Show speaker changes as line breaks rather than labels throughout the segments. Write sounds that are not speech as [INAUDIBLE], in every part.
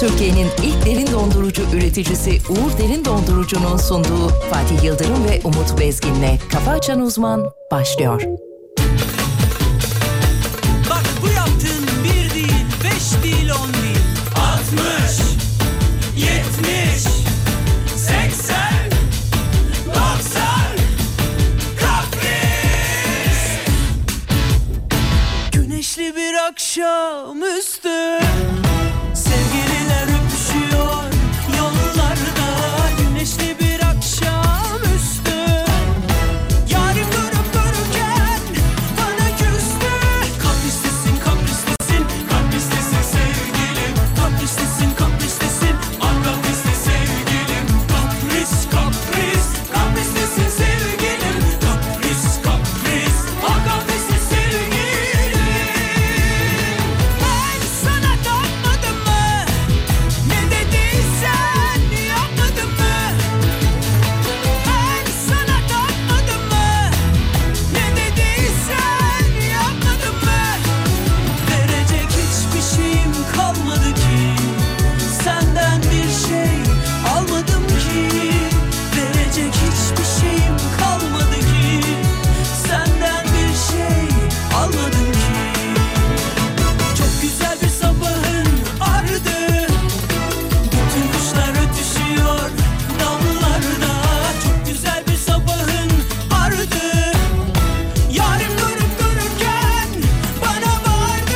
Türkiye'nin ilk derin dondurucu üreticisi Uğur Derin Dondurucu'nun sunduğu Fatih Yıldırım ve Umut Bezgin'le Kafa Açan Uzman başlıyor.
Bak bu yaptığın bir değil, beş değil, on değil. 60, 70, 80, 90, kapris. Güneşli bir akşam üstü Sevgililer öpüşüyor yollarda Güneşli bir akşam üstü Yarim durup dururken bana küstü Kapristesin kapristesin kapristesin sevgilim Kapristesin kapristesin anlatiste sevgilim Kapris kapris kapristesin sevgilim Kapris kapris anlatiste sevgilim Ben sana dönmedim mı? Ne dediysen yapmadım mı? Ben sana takmadım mı? Ne dediysen yapmadım mı? Verecek hiçbir şeyim kalmadı ki Senden bir şey almadım ki Verecek hiçbir şeyim kalmadı ki Senden bir şey almadım ki Çok güzel bir sabahın ardı bütün kuşlar ötüşüyor damlarda Çok güzel bir sabahın vardı Yarim durup dururken bana vardı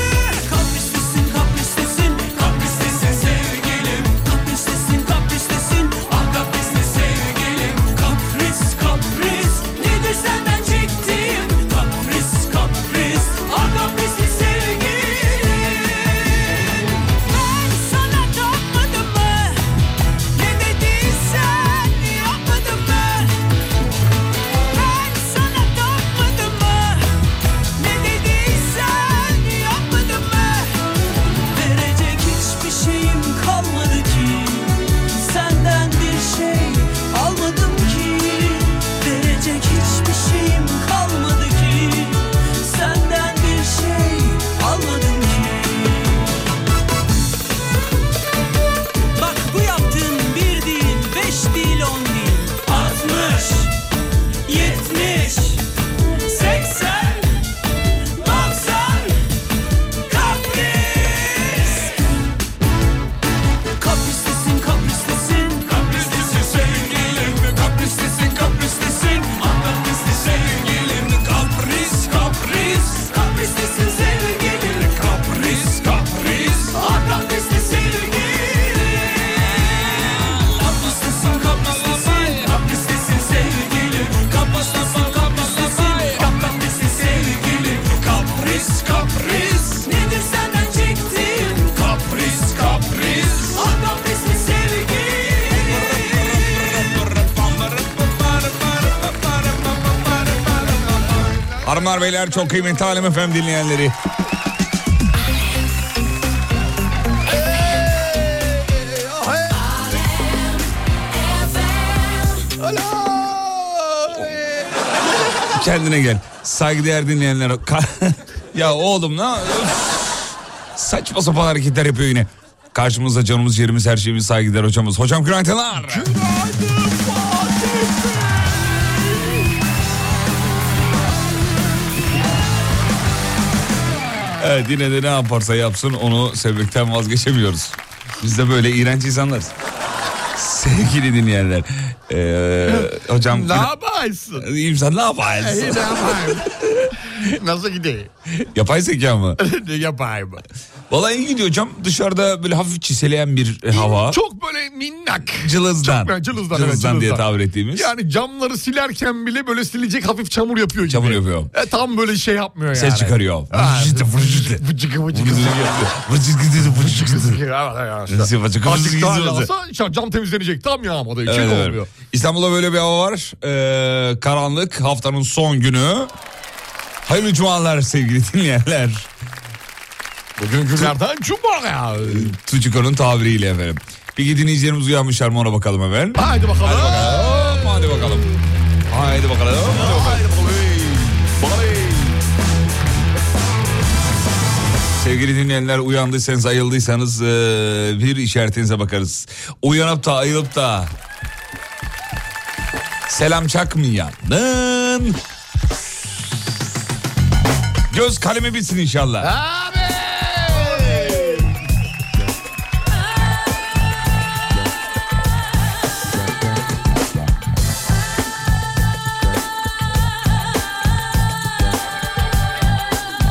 Kapristesin kapristesin kapristesin sevgilim Kapristesin kapristesin ah kaprisli sevgilim Kapris kapris nedir senden çektiğim Kapris kapris ah kaprisli sevgilim Ben sana tapmadım mı? Ne dediysen yapmadım mı? Ben sana tapmadım mı? Ne dediysen yapmadım mı? Verecek hiçbir şeyim kalmadı ki Senden bir şey almadım ki Verecek hiçbir şeyim kalmadı ki Senden bir şey almadım ki Bak bu yaptığın bir değil, beş değil, on değil. 60, 70, 80, 90, kapris. Kapristesin, kapristesin, kapristesin sevgilim. Kapristesin, kapristesin, anlatmıştı sevgilim. Kapris, kapris, kapristesin sevgilim. Kapris, kapris, anlatmıştı sevgilim. Kapristesin, kapristesin, kapristesin sevgilim. Kapristesin, kapristesin, anlatmıştı sevgilim. Kapris, kapris, nedir senden çektiğim? Kapris, kapris, anlatmıştı
Harunlar beyler çok kıymetli Alem FM dinleyenleri. Kendine gel. Saygıdeğer dinleyenler. Ka- ya oğlum ne? Saçma sapan hareketler yapıyor yine. Karşımızda canımız, yerimiz, her şeyimiz saygıdeğer hocamız. Hocam günaydınlar. Evet yine de ne yaparsa yapsın onu sevmekten vazgeçemiyoruz. Biz de böyle iğrenç insanlarız. Sevgili dinleyenler. Ee, hocam
Ne yaparsın?
İnsan ne yaparsın?
Ee, ne yapayım? [LAUGHS] Nasıl gideyim?
Yapay zeka
[LAUGHS]
mı?
ne yapayım?
Vallahi iyi gidiyor hocam. Dışarıda böyle hafif çiseleyen bir hava.
Çok böyle minnak.
cılızdan.
Çok böyle cılızdan, evet,
diye
cılızdan.
tabir ettiğimiz.
Yani camları silerken bile böyle silecek hafif çamur yapıyor gibi.
Çamur yapıyor.
E, tam böyle şey yapmıyor yani.
Ses çıkarıyor.
Ha,
Vıcıdı, vıcıdı.
Vıcıkı vıcıkı.
Vıcıdı, vıcıdı, vıcıdı, vıcıdı.
Vıcıkı, evet, evet.
Vıcıdı, vıcıdı,
Azıcık daha
vıcıdı.
yağsa işte cam temizlenecek. Tam yağmadığı için
Evet, evet.
olmuyor.
İstanbul'da böyle bir hava var. Ee, karanlık haftanın son günü. Hayırlı cumalar sevgili dinleyenler.
Bugün günlerden cuma ya.
Tuçiko'nun tabiriyle efendim. Peki dinleyicilerimiz uyanmışlar mı ona bakalım hemen.
Haydi bakalım. Haydi bakalım.
Hop, Hadi bakalım. Haydi bakalım.
Haydi bakalım. Hey, hey.
Sevgili Sevgili dinleyenler uyandıysanız ayıldıysanız eee, bir işaretinize bakarız. Uyanıp da ayılıp da selam çakmayanın göz kalemi bitsin inşallah.
Abi!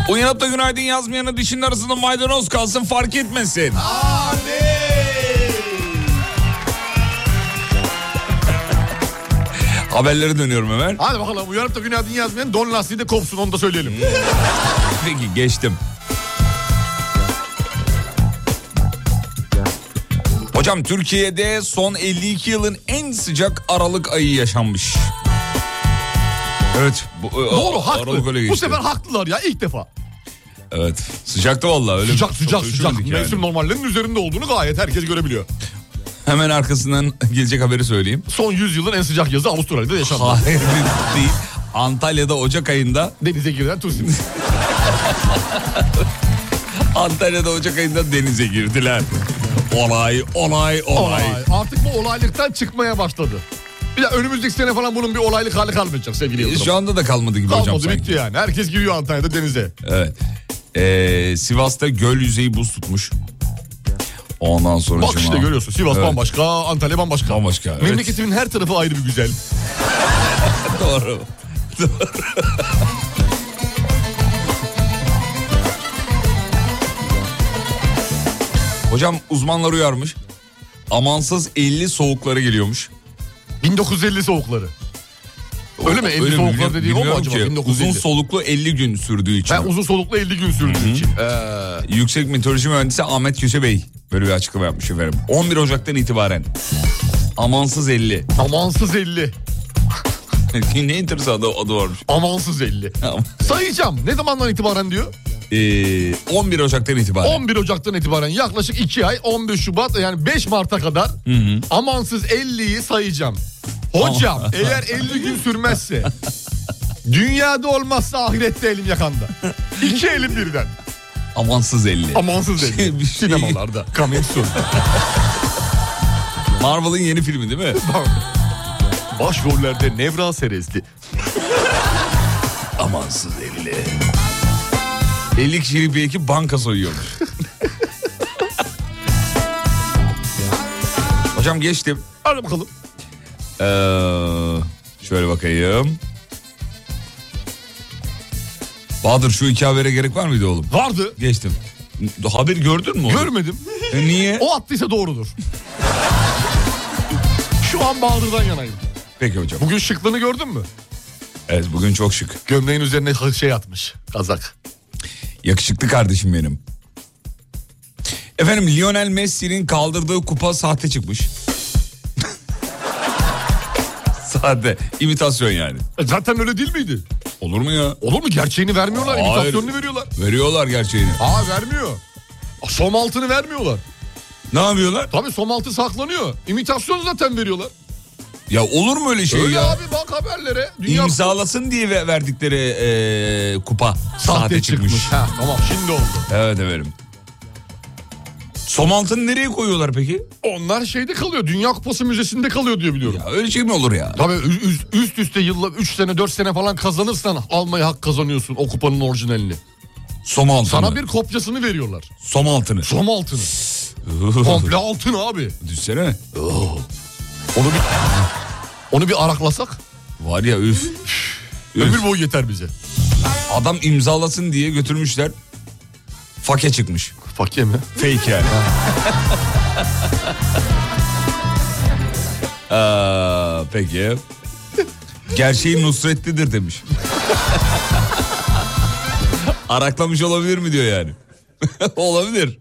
Uyanıp da günaydın yazmayanın dişinin arasında maydanoz kalsın fark etmesin. Haberlere dönüyorum hemen.
Hadi bakalım uyanıp da günaydın yazmayan don lastiği de kopsun onu da söyleyelim.
Hmm. Peki geçtim. Hocam Türkiye'de son 52 yılın en sıcak Aralık ayı yaşanmış. Evet. Bu, e,
Doğru haklı.
Aralık öyle
Bu
geçti.
sefer haklılar ya ilk defa.
Evet. Sıcaktı vallahi öyle.
Sıcak
çok
sıcak sıcak.
üşümedik yani.
Mevsim normallerinin üzerinde olduğunu gayet herkes görebiliyor.
Hemen arkasından gelecek haberi söyleyeyim.
Son 100 yılın en sıcak yazı Avustralya'da yaşandı.
Hayır değil. Antalya'da Ocak ayında
Denize girilen turistimiz.
[LAUGHS] Antalya'da Ocak ayında denize girdiler. Olay, olay, olay.
Olay. Artık bu olaylıktan çıkmaya başladı. Bir de önümüzdeki sene falan bunun bir olaylık hali kalmayacak sevgili
E,
Yıldırım.
Şu anda da kalmadı gibi hocam
Kalmadı
sanki.
bitti yani. Herkes giriyor Antalya'da denize.
Evet. Ee, Sivas'ta göl yüzeyi buz tutmuş. Ondan sonra
Bak işte görüyorsun Sivas
Evet.
bambaşka, Antalya bambaşka.
Bambaşka, evet.
Memleketimin her tarafı ayrı bir güzel.
[LAUGHS] Doğru.
[LAUGHS]
Doğru. Hocam uzmanlar uyarmış. Amansız 50 soğukları geliyormuş.
1950 soğukları. Öyle mi? 50 soğuklar
bilmiyorum-
dediğin o mu
bilmiyorum
acaba?
ki.
1950.
Uzun soluklu 50 gün sürdüğü için.
Ben uzun soluklu 50 gün sürdüğü için. Ee,
Yüksek Meteoroloji Mühendisi Ahmet Köse Bey böyle bir açıklama yapmış efendim. 11 Ocak'tan itibaren. Amansız 50.
amansız 50.
[LAUGHS] ne enteresan adı, adı varmış.
Amansız 50. Sayacağım. Ne zamandan itibaren diyor?
Ee, 11 Ocak'tan itibaren.
11 Ocak'tan itibaren yaklaşık 2 ay 11 Şubat yani 5 Mart'a kadar amansız 50'yi sayacağım.
[LAUGHS]
Hocam eğer 50 gün sürmezse dünyada olmazsa ahirette elim yakanda. İki elim birden.
Amansız 50.
Amansız 50.
Şey, bir şey-
Sinemalarda. Coming soon.
Marvel'ın yeni filmi değil mi? [LAUGHS]
Başrollerde Nevra Serezli.
Amansız 50. 50 kişilik bir ekip banka soyuyormuş. Hocam geçtim.
Hadi bakalım.
Ee, şöyle bakayım. Bahadır şu iki habere gerek var mıydı oğlum?
Vardı.
Geçtim. Haber gördün mü? onu?
Görmedim.
E, niye?
O attıysa doğrudur. Şu an Bahadır'dan yanayım.
Peki hocam.
Bugün şıklığını gördün mü?
Evet bugün çok şık.
Gömleğin üzerine şey atmış. Kazak.
Yakışıklı kardeşim benim. Efendim Lionel Messi'nin kaldırdığı kupa sahte çıkmış. [LAUGHS] sahte. imitasyon yani.
E Zaten öyle değil miydi?
Olur mu ya?
Olur mu? Gerçeğini vermiyorlar.
Hayır.
imitasyonunu veriyorlar.
Veriyorlar gerçeğini.
Aa vermiyor. Aa, Som altını vermiyorlar.
Ne yapıyorlar?
Tabii som altı saklanıyor. İmitasyon zaten veriyorlar.
Ya olur mu öyle şey
Öyle
ya?
abi bak haberlere. Dünya
İmzalasın diye ve- verdikleri e, kupa sahte, çıkmış.
Ha, tamam şimdi oldu.
Evet efendim. Som altını nereye koyuyorlar peki?
Onlar şeyde kalıyor. Dünya Kupası Müzesi'nde kalıyor diye biliyorum.
Ya öyle şey mi olur ya?
Tabii ü- üst, üst üste yıllar 3 sene 4 sene falan kazanırsan almaya hak kazanıyorsun o kupanın orijinalini.
Som altını.
Sana bir kopyasını veriyorlar.
Som altını. [LAUGHS]
Som altını. Komple altın abi.
Düşsene.
Onu bir onu bir araklasak
Var ya üf.
ömür boyu yeter bize.
Adam imzalasın diye götürmüşler. Fake çıkmış.
Fakir mi?
Fake yani. Aa, peki. Gerçeği Nusret'lidir demiş. Araklamış olabilir mi diyor yani. [LAUGHS] olabilir.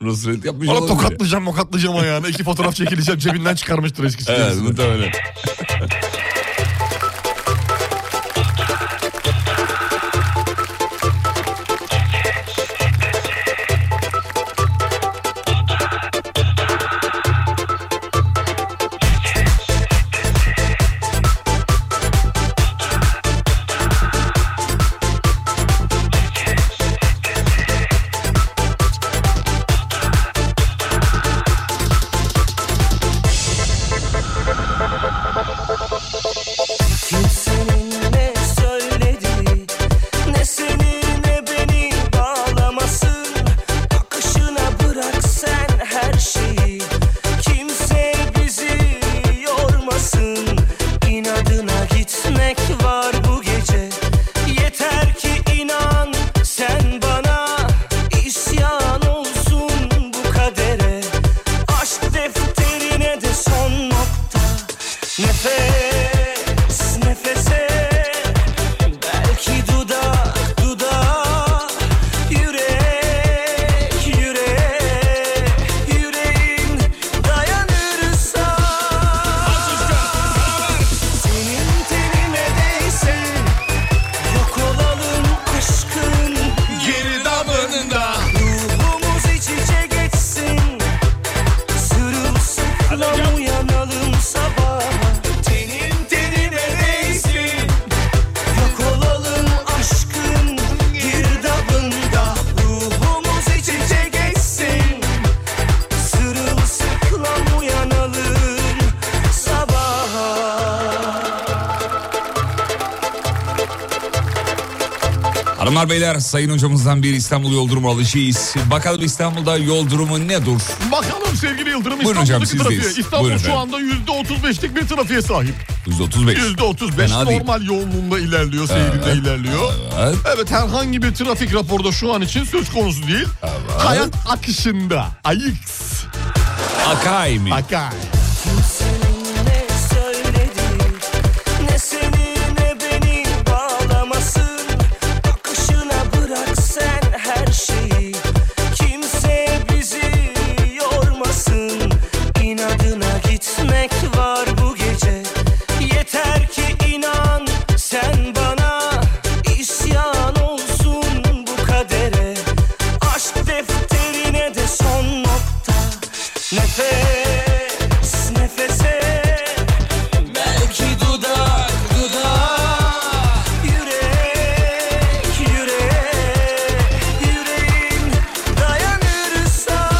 Nusret yapmış
Ona
olabilir.
tokatlayacağım mokatlayacağım ayağına. İki fotoğraf çekileceğim cebinden çıkarmıştır eskisi.
Evet
Evet,
muhtemelen. Hanımlar beyler sayın hocamızdan bir İstanbul yol durumu alışıyız. Bakalım İstanbul'da yol durumu ne dur?
Bakalım sevgili Yıldırım
Buyurun hocam,
İstanbul'daki
sizdeyiz.
trafiğe. İstanbul
Buyurun
şu
efendim.
anda %35'lik bir trafiğe sahip.
135.
%35
Fena değil.
normal yoğunluğunda ilerliyor, seyrinde ilerliyor.
Evet.
Evet herhangi bir trafik raporda şu an için söz konusu değil. Hayat akışında. Ayık.
Akay mı?
Akar.
Senin ne söyledim Ne seni ne beni bağlamasın Akışına bırak sen her şeyi Kimse bizi yormasın İnadına gitmek var bu gece Yeter ki inan sen bana İsyan olsun bu kadere Aşk defterine de son nokta Nefes nefese Belki dudak dudak Yürek yürek Yüreğin dayanırsa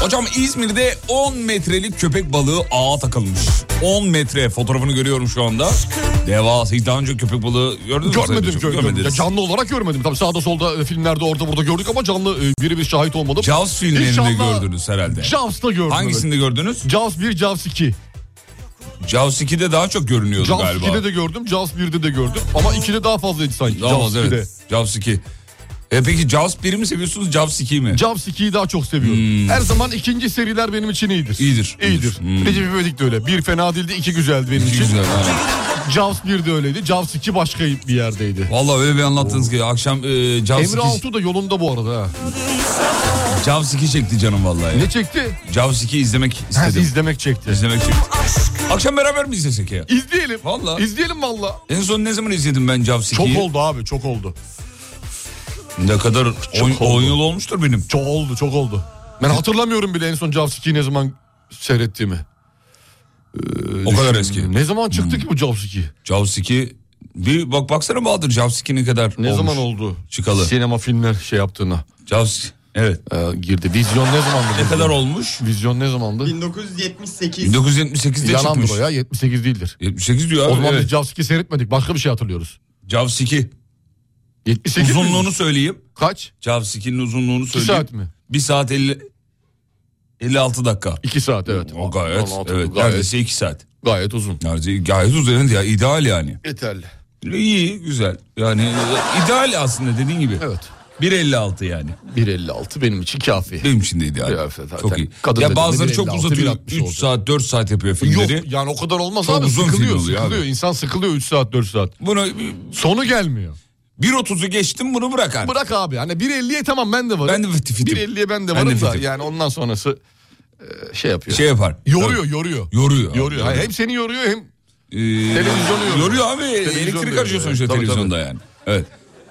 Hocam İzmir'de 10 metrelik köpek balığı ağa takılmış. 10 metre fotoğrafını görüyorum şu anda. Devasa. Hiç daha önce köpek balığı gördünüz mü? Sayın
Görmedim,
Hocam?
görmedim. Ya
Görmediniz.
canlı olarak görmedim. Tabii sağda solda e, filmlerde orada burada gördük ama canlı e, birebir şahit olmadım.
Jaws filmlerinde
İnşallah
gördünüz herhalde.
Jaws'ta gördüm.
Hangisinde gördünüz?
evet. Jaws 1, Jaws 2.
Jaws 2'de daha çok görünüyordu
Jaws
galiba.
2'de de gördüm, Jaws 1'de de gördüm. Ama 2'de daha fazlaydı sanki.
Daha
Jaws
fazla
2'de.
evet. Jaws 2. E peki Jaws 1'i mi seviyorsunuz Jaws 2'yi mi? Hmm.
Jaws 2'yi daha çok seviyorum. Her zaman ikinci seriler benim için iyidir.
İyidir,
İyidir.
iyidir. Hmm.
Recep İvedik de öyle. Bir fena değildi, iki güzeldi benim için.
Güzel. aynen.
Jaws 1 de öyleydi. Jaws 2 başka bir yerdeydi.
Vallahi öyle bir anlattınız ki akşam e, Jaws, 2,
Emre Altuğ da yolunda bu arada. ha.
Jaws 2 çekti canım vallahi.
Ne çekti?
Jaws 2 izlemek
Ha,
istedim.
izlemek çekti.
İzlemek çekti. Akşam beraber mi izlesek ya?
İzleyelim.
Vallahi.
İzleyelim valla.
En son ne zaman izledim ben Jaws 2'yi?
Çok oldu abi çok oldu.
Ne kadar
Çok
10
oldu.
yıl olmuştur benim.
Çok oldu çok oldu. Ben hatırlamıyorum bile en son Jaws 2'yi ne zaman seyrettiğimi. Ee,
O kadar eski. Hmm.
Ne zaman çıktı ki bu Jaws 2?
Jaws 2 bir bak baksana Bahadır Jaws 2 ne kadar
Ne
olmuş.
zaman oldu?
Çıkalı.
Sinema filmler şey yaptığına
Jaws evet.
e, girdi. Vizyon ne zamandı?
Ne kadar olmuş?
Vizyon ne zamandı?
1978.
1978'de
Yalandır
çıkmış.
o ya 78 değildir.
78 diyor abi.
O zaman
evet.
biz Jaws 2 seyretmedik başka bir şey hatırlıyoruz.
Jaws 2.
78 mi?
Uzunluğunu söyleyeyim.
Kaç?
Jaws 2'nin uzunluğunu söyleyeyim.
saat mi?
1 saat 50 56 dakika.
2 saat evet.
O gayet,
Vallahi
evet,
gayet,
neredeyse 2 saat.
gayet uzun.
Neredeyse gayet uzun ya ideal yani.
Yeterli.
İyi güzel. Yani e, ideal aslında dediğin gibi.
Evet.
1.56 yani.
1.56 benim için kafi.
Benim için de ideal.
Ya zaten
çok iyi.
kadın
ya
dediğinde
bazıları
1.56,
çok uzatıyor.
1.60
3
olacak.
saat 4 saat yapıyor
Yok
filmleri.
yani o kadar olmaz
Çok
abi
uzun film
sıkılıyor
oluyor
sıkılıyor.
abi.
İnsan sıkılıyor 3 saat 4 saat.
Bunu
Sonu gelmiyor.
1.30'u geçtim bunu bırak artık.
Bırak abi hani 1.50'ye tamam ben de varım.
Ben de fit- fitim.
1.50'ye
Ben
ben de
de
varım da
fitim.
yani ondan sonrası e, şey yapıyor.
Şey yapar.
yoruyor yoruyor.
Yoruyor.
Yoruyor. Hayır,
Yoruyor.
hem seni yoruyor hem
Ee,
Televizyonu yoruyor.
Yoruyor abi.
Televizyon
Elektrik
yoruyor,
harcıyor
evet.
sonuçta
Tabii,
televizyonda yani. Evet.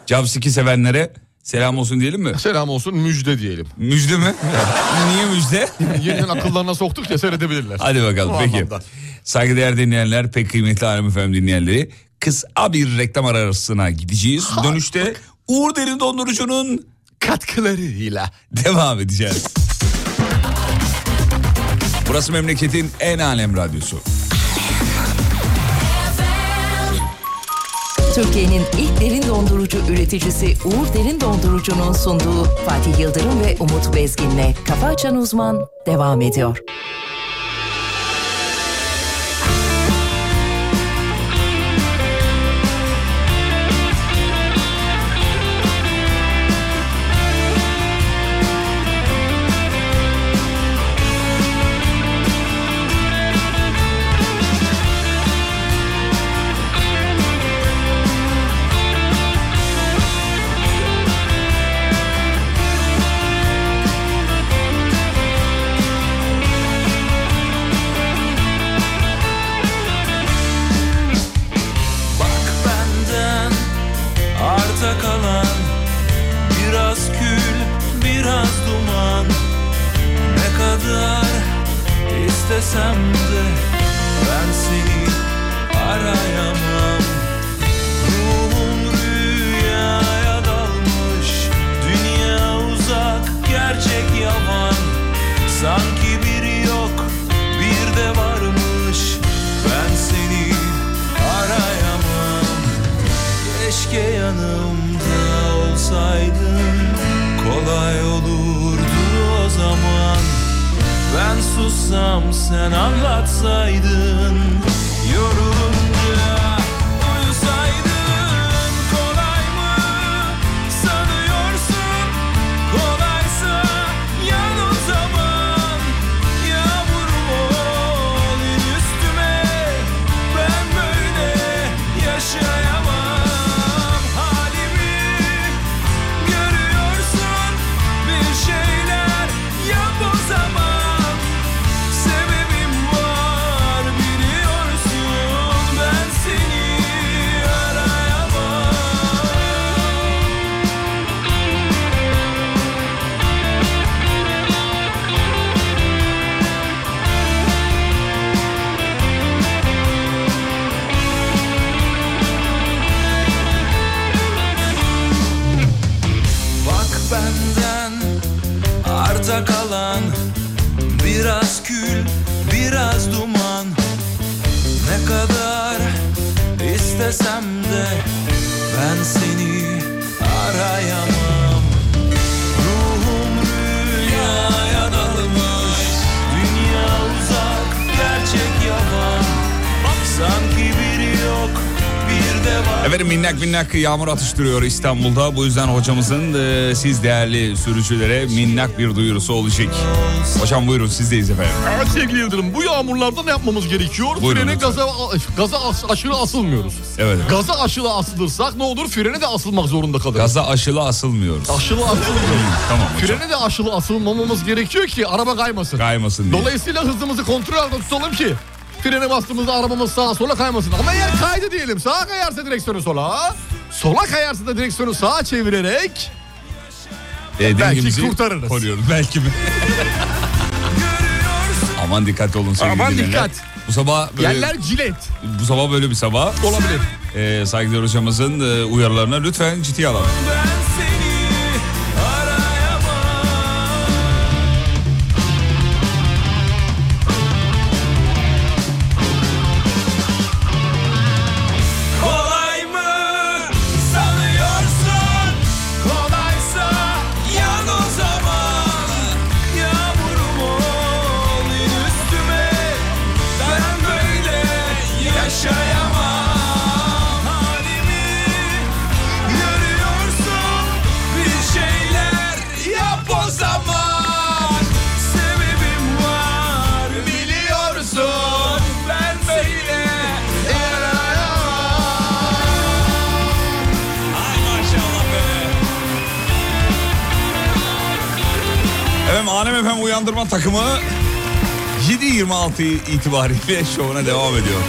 Jaws 2 sevenlere selam olsun diyelim mi?
selam olsun müjde diyelim.
Müjde mi? [LAUGHS] Niye müjde?
Yeniden akıllarına soktuk ya seyredebilirler.
Hadi bakalım
O
peki.
anlamda.
Saygıdeğer dinleyenler, pek kıymetli Alem Efendim dinleyenleri. Kısa bir reklam arasına gideceğiz. Dönüşte Uğur Derin Dondurucu'nun
Katkılarıyla.
devam edeceğiz. Burası memleketin en alem radyosu.
Türkiye'nin ilk derin dondurucu üreticisi Uğur Derin Dondurucu'nun sunduğu Fatih Yıldırım ve Umut Bezgin'le Kafa Açan Uzman devam ediyor.
Bak benden arta kalan Biraz kül biraz duman Ne kadar istesem de Ben seni arayamam Ruhum rüyaya dalmış Dünya uzak gerçek yavan Sanki bir yok bir de varmış Ben seni arayamam Keşke yanımda
olsaydın kolay olurdu o zaman Ben sussam sen anlatsaydın Yorulunca uyusaydın kolay mı sanıyorsun Kolaysa yan o zaman Yağmurum ol üstüme Ben böyle yaşayamam Halimi görüyorsun Bir şeyler yap o zaman Sebebim var biliyorsun Ben seni arayamam Bak benden arta kalan Biraz kül, biraz duman Ne kadar istesem de Ben seni arayamam Ruhum rüyaya dalmış Dünya uzak, gerçek yalan Sanki biri yok, bir de var
Efendim minnak minnak yağmur atıştırıyor İstanbul'da. Bu yüzden hocamızın e, siz değerli sürücülere minnak bir duyurusu olacak. Hocam buyurun sizdeyiz efendim.
Evet sevgili Yıldırım bu yağmurlarda ne yapmamız gerekiyor?
Buyurun
Frene
lütfen.
gaza, gaza as- aşırı asılmıyoruz.
Evet. efendim.
Gaza aşırı asılırsak ne olur? Frene de asılmak zorunda kalırız.
Gaza aşılı asılmıyoruz. E,
Aşırı asılmıyoruz.
Tamam hocam.
Frene de aşırı asılmamamız gerekiyor ki araba kaymasın.
Kaymasın diye.
Dolayısıyla hızımızı kontrol altında tutalım ki frene bastığımızda arabamız sağa sola kaymasın. Ama eğer kaydı diyelim sağa kayarsa direksiyonu sola, sola kayarsa da direksiyonu sağa çevirerek
E,
belki
dengemizi
kurtarırız.
Koruyoruz belki mi? Aman dikkatli olun sevgili
Aman
dinleyenler.
dikkat.
Bu sabah böyle,
yerler cilet
bu sabah böyle bir sabah.
olabilir.
E, saygıdeğer hocamızın e, uyarılarına lütfen ciddiye alalım.
Ben seni arayamam Kolay mı sanıyorsun Kolaysa yan o zaman Yağmurum ol üstüme Ben böyle yaşayamam Halimi Görüyorsun bir şeyler yap o zaman Sebebim var biliyorsun Ben böyle yarayamam Ay maşallah be
Efendim Alem Efem Uyandırma Takımı 7.26 itibariyle şovuna devam ediyor.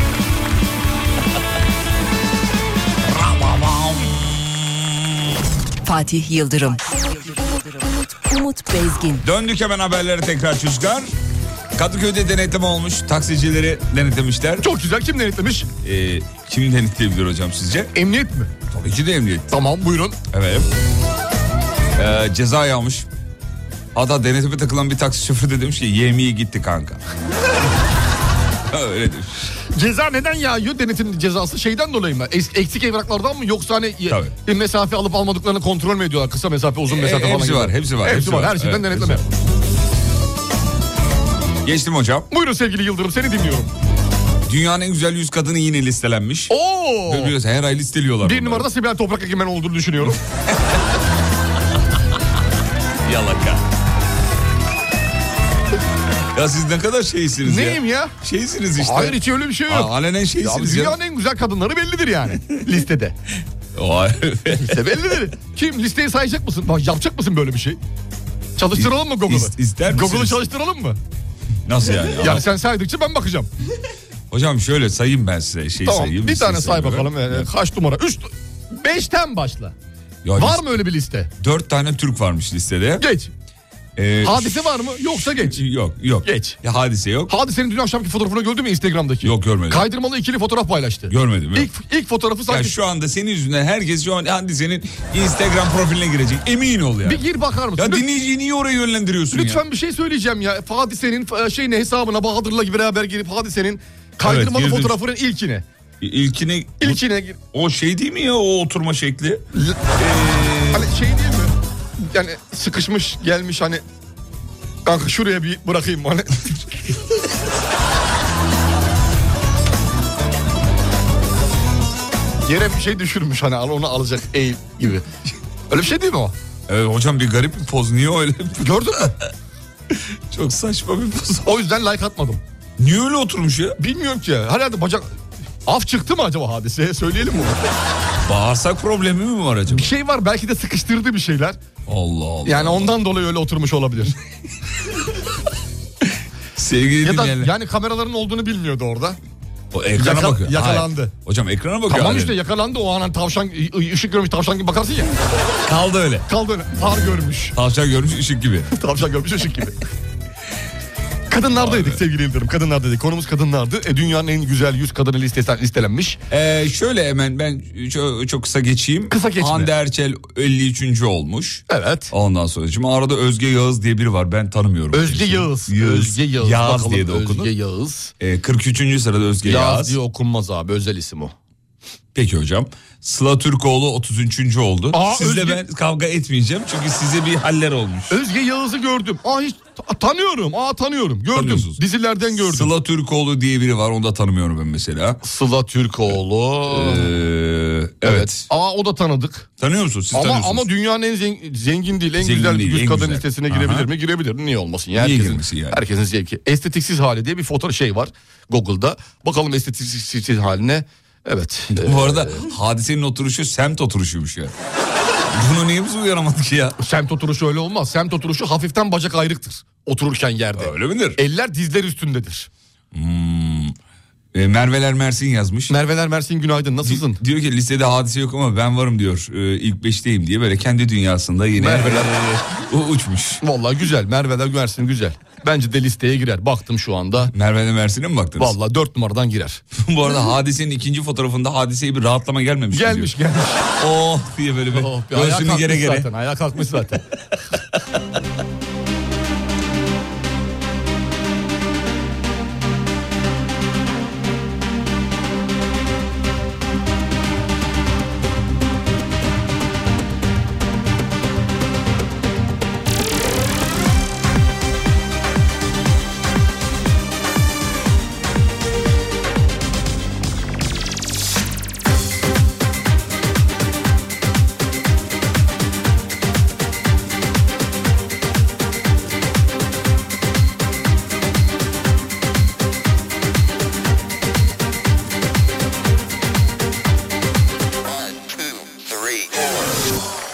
Rababam.
Fatih Yıldırım. Umut, Umut Bezgin.
Döndük hemen haberlere tekrar çocuklar. Kadıköy'de denetleme olmuş. Taksicileri denetlemişler.
Çok güzel kim denetlemiş?
Ee, kim denetleyebilir hocam sizce?
Emniyet mi?
Tabii ki de emniyet.
Tamam buyurun.
Evet. Ee, ceza yağmış. Hatta denetime takılan bir taksi şoförü de demiş ki yemeği gitti kanka. [LAUGHS] Öyle demiş.
Ceza neden yağıyor? Denetim cezası şeyden dolayı mı? Es- Eksik evraklardan mı yoksa hani ye-
Tabii.
bir mesafe alıp almadıklarını kontrol mü ediyorlar? Kısa mesafe, uzun
E,
mesafe falan.
hepsi
gibi.
var, hepsi var,
Hepsi,
hepsi
var.
var.
Her şeyden
Evet,
denetleme.
Geçtim hocam.
Buyurun sevgili Yıldırım seni dinliyorum.
Dünyanın en güzel yüz kadını yine listelenmiş.
Oo!
Biliyorsun, Her ay listeliyorlar.
Bir
bunları.
numarada Sibel Toprak Egemen
[LAUGHS]
olduğunu düşünüyorum.
Yalaka. ya siz ne kadar şeysiniz ya.
Neyim ya?
Şeysiniz işte.
Hayır hiç öyle bir şey
Aa,
yok.
Alenen
Ya
şeysiniz ya.
dünyanın en güzel kadınları bellidir
[LAUGHS]
yani listede.
Vay. [LAUGHS]
Liste bellidir. Kim listeyi sayacak mısın? Bak yapacak mısın böyle bir şey? Çalıştıralım mı
İs-
Google'ı?
ister misiniz?
Google'ı çalıştıralım mı?
Nasıl yani? Ama-
Yani sen saydıkça ben bakacağım.
Hocam şöyle sayayım ben size. Şey
tamam
sayayım,
bir
liste
tane say
sayayım.
bakalım. Ee, Kaç numara? Üç, beşten başla.
Ya
Var
list-
mı öyle bir liste?
Dört tane Türk varmış listede.
Geç.
Ee,
Hadise var mı? Yoksa geç.
Yok yok.
Geç.
Ya hadise yok.
Hadisenin dün akşamki fotoğrafını gördün mü Instagram'daki?
Yok, görmedim.
Kaydırmalı ikili fotoğraf paylaştı.
Görmedim, yok.
İlk, ilk fotoğrafı
Ya
sanki...
şu anda senin yüzünden herkes şu an hadisenin Instagram profiline girecek. Emin ol ya.
Bir gir bakar mısın?
Ya
Lütfen-
dinleyiciyi niye oraya yönlendiriyorsun ya?
Lütfen bir şey söyleyeceğim ya. Hadisenin e, şeyine hesabına Bahadır'la gibi beraber girip Hadise'nin kaydırmalı
girdim. E,
fotoğrafının ilkine.
İlkine
İlkine gir.
o şey değil mi ya o oturma şekli? Ee,
Hani şey değil mi? Yani sıkışmış gelmiş hani kanka şuraya bir bırakayım Hani- bana. [LAUGHS] Yere bir şey düşürmüş hani al onu alacak eğil gibi. Öyle bir şey değil mi o?
Evet hocam bir garip bir poz. Niye öyle? Gördün mü? Çok saçma bir poz.
O yüzden like atmadım.
Niye öyle oturmuş ya?
Bilmiyorum ki. Herhalde bacak... Af çıktı mı acaba hadiseye? [LAUGHS] Söyleyelim mi? bunu?
Bağırsak problemi mi var acaba?
bir şey var belki de sıkıştırdı bir şeyler.
Allah Allah.
Yani ondan dolayı öyle oturmuş
[LAUGHS]
olabilir.
Sevgili
ya da
dinleyenler.
yani kameraların olduğunu bilmiyordu orada.
O ekrana
Yaka-
bakıyor.
yakalandı.
Hayır. Hocam ekrana bakıyor.
Tamam
hala.
işte yakalandı o anan tavşan ı- ı- ışık görmüş tavşan gibi bakarsın ya.
Kaldı öyle.
Kaldı öyle. Far görmüş.
Tavşan görmüş ışık gibi.
[LAUGHS] Tavşan görmüş ışık gibi. Kadınlardaydık sevgili Yıldırım. Kadınlardaydık. Konumuz kadınlardı. E, dünyanın en güzel 100 kadını listesen, listelenmiş.
Ee, şöyle hemen ben çok, çok kısa geçeyim.
Kısa geçme.
Hande Erçel 53. olmuş.
Evet.
Ondan sonra şimdi arada Özge Yağız diye biri var ben tanımıyorum.
Özge
Şimdi.
Yağız.
Yağız.
Özge Yağız.
Yağız
Bakalım
diye de
Özge
okunur.
Yağız.
Ee, 43. sırada Özge Yağız.
Yağız. diye okunmaz abi. Özel isim o.
Peki hocam. Sıla Türkoğlu 33. oldu.
Aa,
Sizle
Özge-
ben kavga etmeyeceğim çünkü size bir haller olmuş.
Özge Yağız'ı gördüm. Aa hiç ta- tanıyorum. Aa tanıyorum. Gördüm.
Tanıyorsunuz.
Dizilerden gördüm. Sıla,
Sıla Türkoğlu diye biri var onu da tanımıyorum ben mesela.
Türkoğlu.
Ee, evet.
Aa o da tanıdık.
Tanıyor musun? Siz
Ama
tanıyorsunuz.
ama dünyanın en zengin, zengin değil, en
Zengin
güzel
değil,
yüz
en
kadın
güzel.
listesine girebilir
Aha.
mi? Girebilir. Niye olmasın? Ya
Niye
herkesin,
girmesin yani?
Herkesin zevki. Estetiksiz hali diye bir fotoğraf şey var Google'da. Bakalım estetiksiz haline. Evet. Ee,
Bu arada hadisenin oturuşu semt oturuşuymuş ya. Bunu niye biz uyaramadık ya?
Semt oturuşu öyle olmaz. Semt oturuşu hafiften bacak ayrıktır. Otururken yerde.
Öyle midir? Hmm.
Eller dizler üstündedir.
Ee, Merveler Mersin yazmış.
Merveler Mersin günaydın. Nasılsın?
Diyor ki listede hadise yok ama ben varım diyor. Ee, ilk beşteyim diye böyle kendi dünyasında yine
Merveler.
e, [LAUGHS] u- uçmuş. [LAUGHS]
Vallahi güzel. Merve'de Mersin güzel. Bence de listeye girer. Baktım şu anda.
Merve'de Mersin'e mi baktınız?
Vallahi dört numaradan girer.
Bu arada hadisenin ikinci fotoğrafında hadiseye bir rahatlama gelmemiş. mi
Gelmiş
diyor.
gelmiş.
[LAUGHS] Oh diye böyle bir
Oh, bir ayağa
göğsünü
kalkmış
gere gere.
zaten. Ayağa kalkmış zaten.
One, two, three,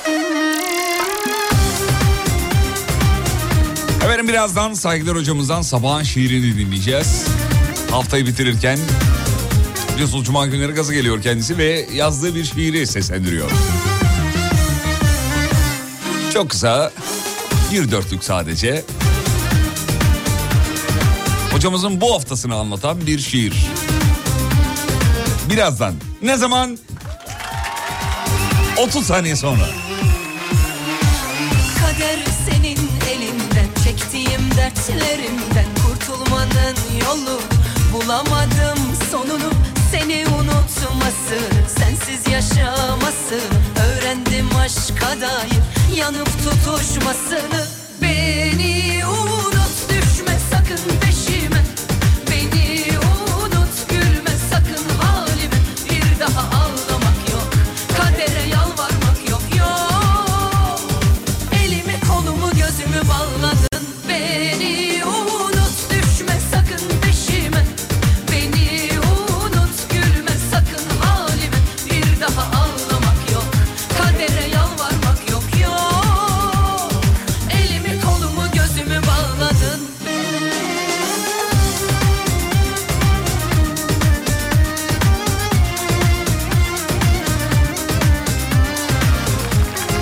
Efendim birazdan saygılar hocamızdan sabahın şiirini dinleyeceğiz. Haftayı bitirirken biliyorsunuz Cuma günleri gaza geliyor kendisi ve yazdığı bir şiiri seslendiriyor. Çok kısa bir dörtlük sadece. Hocamızın bu haftasını anlatan bir şiir. Birazdan ne zaman? 30 saniye sonra.
Kader senin elinden Çektiğim dertlerimden Kurtulmanın yolu Bulamadım sonunu Seni unutması Sensiz yaşaması Öğrendim aşka dair Yanıp tutuşmasını Beni unut düşme sakın peşime Beni unut gülme sakın halime Bir daha ağlamak yok Kadere yalvarmak yok yok Elimi kolumu gözümü bağladın Beni unut düşme sakın peşime Beni unut gülme sakın halime Bir daha ağlamak yok Kadere yalvarmak yok yok Elimi kolumu gözümü bağladın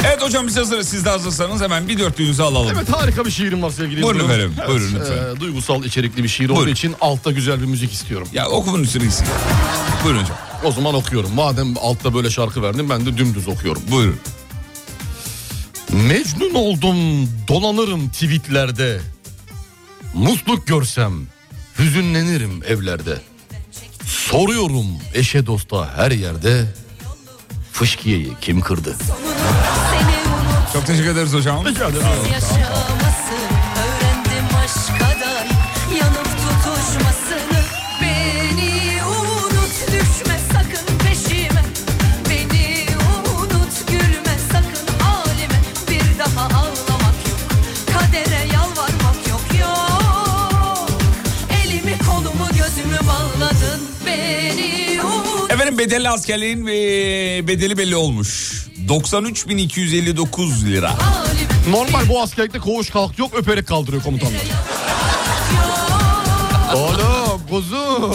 Evet hocam biz hazırız. Siz de hazırsanız hemen bir dörtlüğünüzü alalım.
Evet harika bir şiirim var sevgili
Buyurun
İlgöz.
efendim, buyurun lütfen.
e, duygusal içerikli bir şiir olduğu
Buyurun.
için altta güzel bir müzik istiyorum.
Ya okumun üstüne gitsin. Buyurun hocam.
O zaman okuyorum. Madem altta böyle şarkı verdim ben de dümdüz okuyorum.
Buyurun.
Mecnun oldum dolanırım tweetlerde. Musluk görsem hüzünlenirim evlerde. Soruyorum eşe dosta her yerde. Fışkiye'yi kim kırdı?
Sonunu Seni unut
Çok teşekkür ederiz hocam.
yaşamasın Öğrendim aşka dair yanıp tutuşmasını Beni unut düşme sakın peşime Beni unut gülme sakın halime Bir daha ağlamak yok kadere yalvarmak yok yok Elimi kolumu gözümü bağladın Beni unut
Efendim bedelli askerliğin e, bedeli belli olmuş. 93.259 lira.
halime
Normal bu askerlikte koğuş kalk yok öperek kaldırıyor komutanlar. Oğlum kuzu.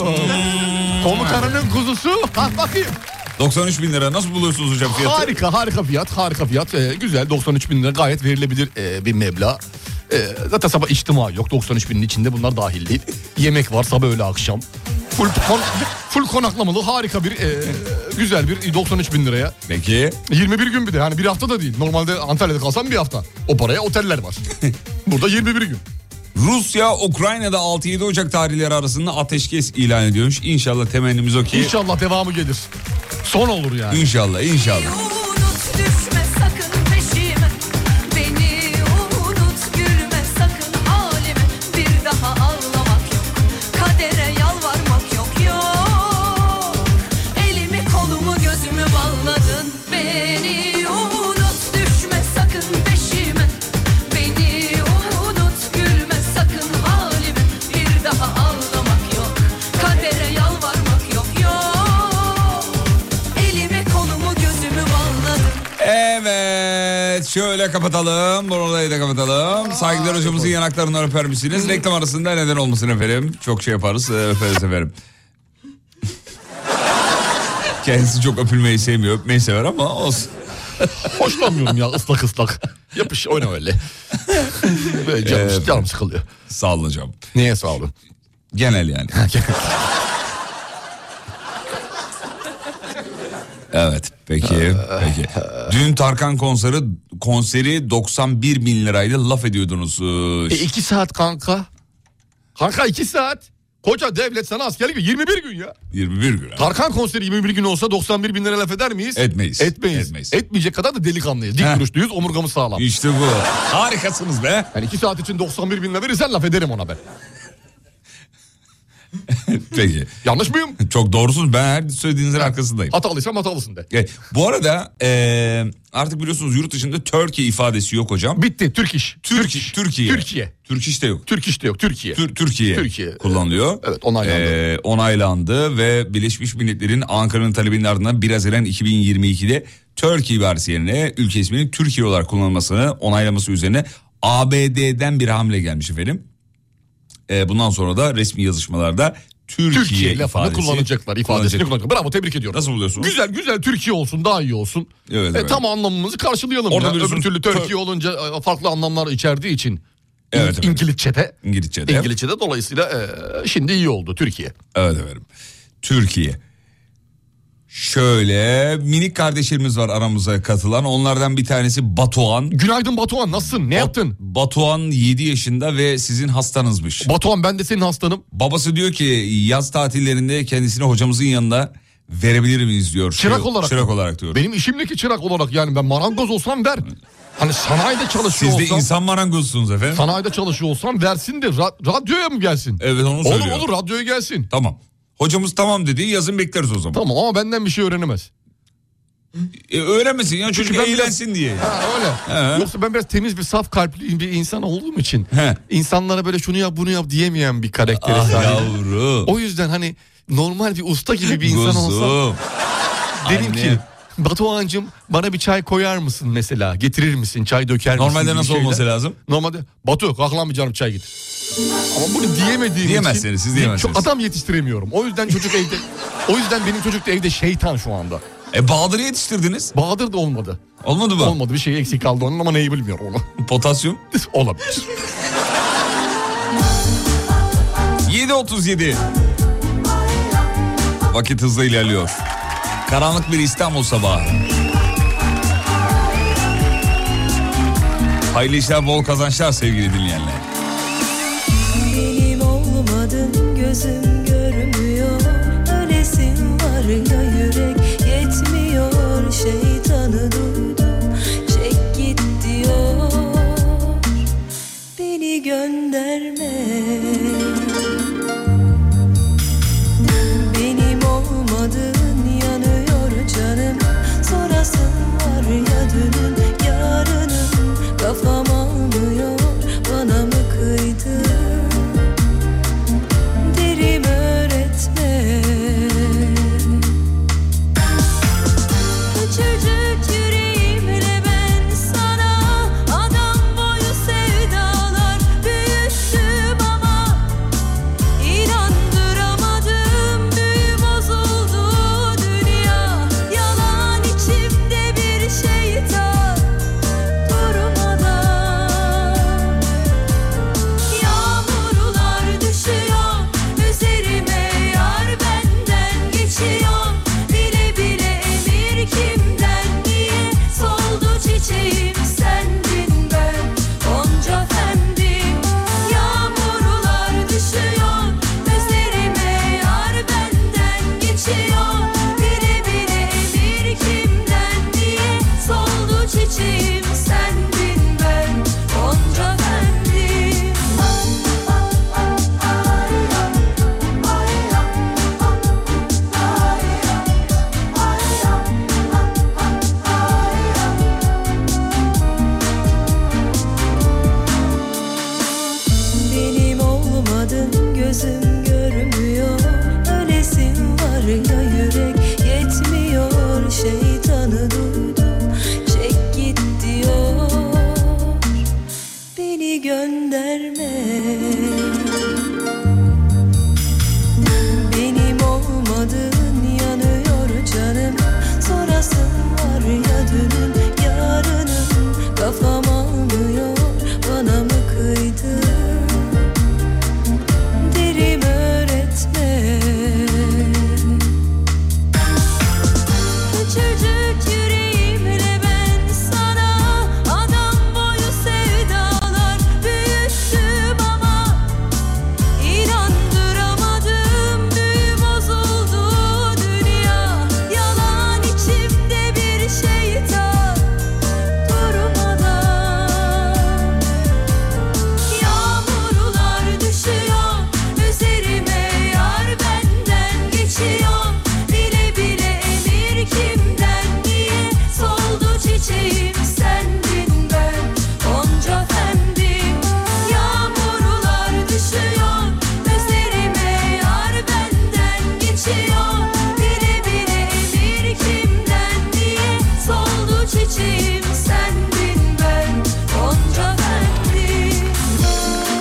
Komutanının kuzusu. Kalk bakayım.
93 bin lira nasıl buluyorsunuz hocam fiyatı?
Harika harika fiyat harika fiyat. Ee, güzel 93 bin lira gayet verilebilir e, bir meblağ. Ee, zaten sabah içtima yok 93 binin içinde bunlar dahil değil. Yemek var sabah öğle akşam. Full, kon- full konaklamalı harika bir e, güzel bir 93 bin liraya.
Peki
21 gün bir de yani bir hafta da değil. Normalde Antalya'da kalsam bir hafta. O paraya oteller var. Burada 21 gün.
Rusya Ukrayna'da 6-7 Ocak tarihleri arasında ateşkes ilan ediyormuş. İnşallah temennimiz o ki.
İnşallah devamı gelir. Son olur yani.
İnşallah inşallah.
Unut düşme sakın peşime Beni unut gülme sakın halime Bir daha ağlamak yok Kadere yalvarmak yok yok Elimi kolumu gözümü bağladın Beni unut düşme sakın peşime Beni unut gülme sakın halime Bir daha ağlamak yok Kadere yalvarmak yok yok Elimi kolumu gözümü bağladım
Evet şöyle kapatalım. Burayı da kapatalım. Saygılar hocamızın yanaklarından öper misiniz? Reklam arasında neden olmasın efendim. Çok şey yaparız e, öperiz efendim. Kendisi çok öpülmeyi sevmiyor. Öpmeyi sever ama olsun.
Hoşlanmıyorum ya ıslak ıslak. Yapış oyna öyle. Böyle canım,
Evet.
canım sıkılıyor.
Ee, Sağ olun hocam.
Niye sağ olun?
Genel yani. Evet peki peki. Dün Tarkan konseri konseri 91 bin lirayla laf ediyordunuz.
E
Ee,
iki saat kanka. Kanka iki saat. Koca devlet sana askerlik veriyor. 21 gün ya.
21 gün.
Tarkan konseri 21 gün olsa 91 bin lira laf eder miyiz?
Etmeyiz.
Etmeyiz.
Etmeyiz.
Etmeyecek kadar da delikanlıyız. Dik
Heh.
duruşluyuz omurgamız sağlam.
İşte bu. Harikasınız be.
Yani iki saat için 91 bin lira verirsen laf ederim ona ben.
Peki.
Yanlış mıyım?
Çok doğrusunuz. Ben her söylediğinizin arkasındayım.
Hatalıysam hatalısın de.
Evet, Bu arada e, artık biliyorsunuz yurt dışında Türkiye ifadesi yok hocam.
Bitti. Türk iş.
Türk, Türkiye.
Türkiye.
Türk işte yok.
Türk iş de yok. Türkiye.
Tür- Türkiye,
Türkiye.
kullanılıyor.
Evet, onaylandı.
Ee, onaylandı ve Birleşmiş Milletler'in Ankara'nın talebinin ardından 1 Haziran 2022'de Türkiye versiyonuna ülke isminin Türkiye olarak kullanılmasını onaylaması üzerine ABD'den bir hamle gelmiş efendim. Ee, bundan sonra da resmi yazışmalarda Türkiye,
Türkiye lafını
ifadesi
kullanacaklar. ifadesini
kullanacak.
kullanacaklar. Bravo tebrik ediyorum.
Nasıl buluyorsunuz?
Güzel güzel Türkiye olsun daha iyi olsun.
Evet,
E,
evet.
Tam anlamımızı karşılayalım.
Orada
ya. Öbür
biliyorsunuz-
türlü
Tör-
Türkiye olunca e, farklı anlamlar içerdiği için.
Evet,
Evet,
evet.
İngilizce'de.
İngilizce'de.
İngilizce'de dolayısıyla e, şimdi iyi oldu Türkiye.
Evet efendim. Türkiye. Şöyle minik kardeşlerimiz var aramıza katılan. Onlardan bir tanesi Batuhan.
Günaydın Batuhan nasılsın? Ne yaptın?
Batuhan 7 yaşında ve sizin hastanızmış.
Batuhan ben de senin hastanım.
Babası diyor ki yaz tatillerinde kendisini hocamızın yanına verebilir miyiz diyor.
Çırak
Şey-
olarak.
Çırak olarak diyor.
Benim işimdeki çırak olarak yani ben marangoz olsam ver. Hani sanayide çalışıyor
Siz de
olsam.
insan marangozsunuz efendim.
Sanayide çalışıyor olsam versin de ra- radyoya mı gelsin?
Evet onu
olur
söylüyor.
olur radyoya gelsin.
Tamam. Hocamız tamam dedi yazın bekleriz o zaman.
Tamam ama benden bir şey öğrenemez.
E, öğrenmesin ya çocuk
Çünkü ben
eğlensin
[LAUGHS]
diye.
Ha öyle.
He.
Yoksa ben biraz temiz bir saf kalpli bir insan olduğum için
He.
insanlara böyle şunu yap bunu yap diyemeyen bir karaktere
Ah
sahibim.
yavru.
O yüzden hani normal bir usta gibi bir insan olsam
Kuzum.
derim
Anne.
ki Batuhan'cığım bana bir çay koyar mısın mesela? Getirir misin? Çay döker misin?
Normalde
gibi
nasıl
şeyler.
olması lazım?
Normalde Batu kalk lan bir canım çay git. Ama bunu diyemediğim için.
Diyemezsiniz, siz diyemezsiniz.
Çok adam yetiştiremiyorum. O yüzden çocuk evde. O yüzden benim çocuk da evde şeytan şu anda.
E Bahadır'ı yetiştirdiniz.
Bahadır da olmadı.
Olmadı mı?
Olmadı bir şey eksik kaldı onun ama neyi bilmiyorum onu.
Potasyum.
[LAUGHS] Olabilir.
7.37 Vakit hızla ilerliyor. Karanlık bir İstanbul sabahı. Hayırlı işler, bol kazançlar sevgili dinleyenler.
Benim olmadın gözüm görmüyor Ölesin var ya yürek yetmiyor Şeytanı duydum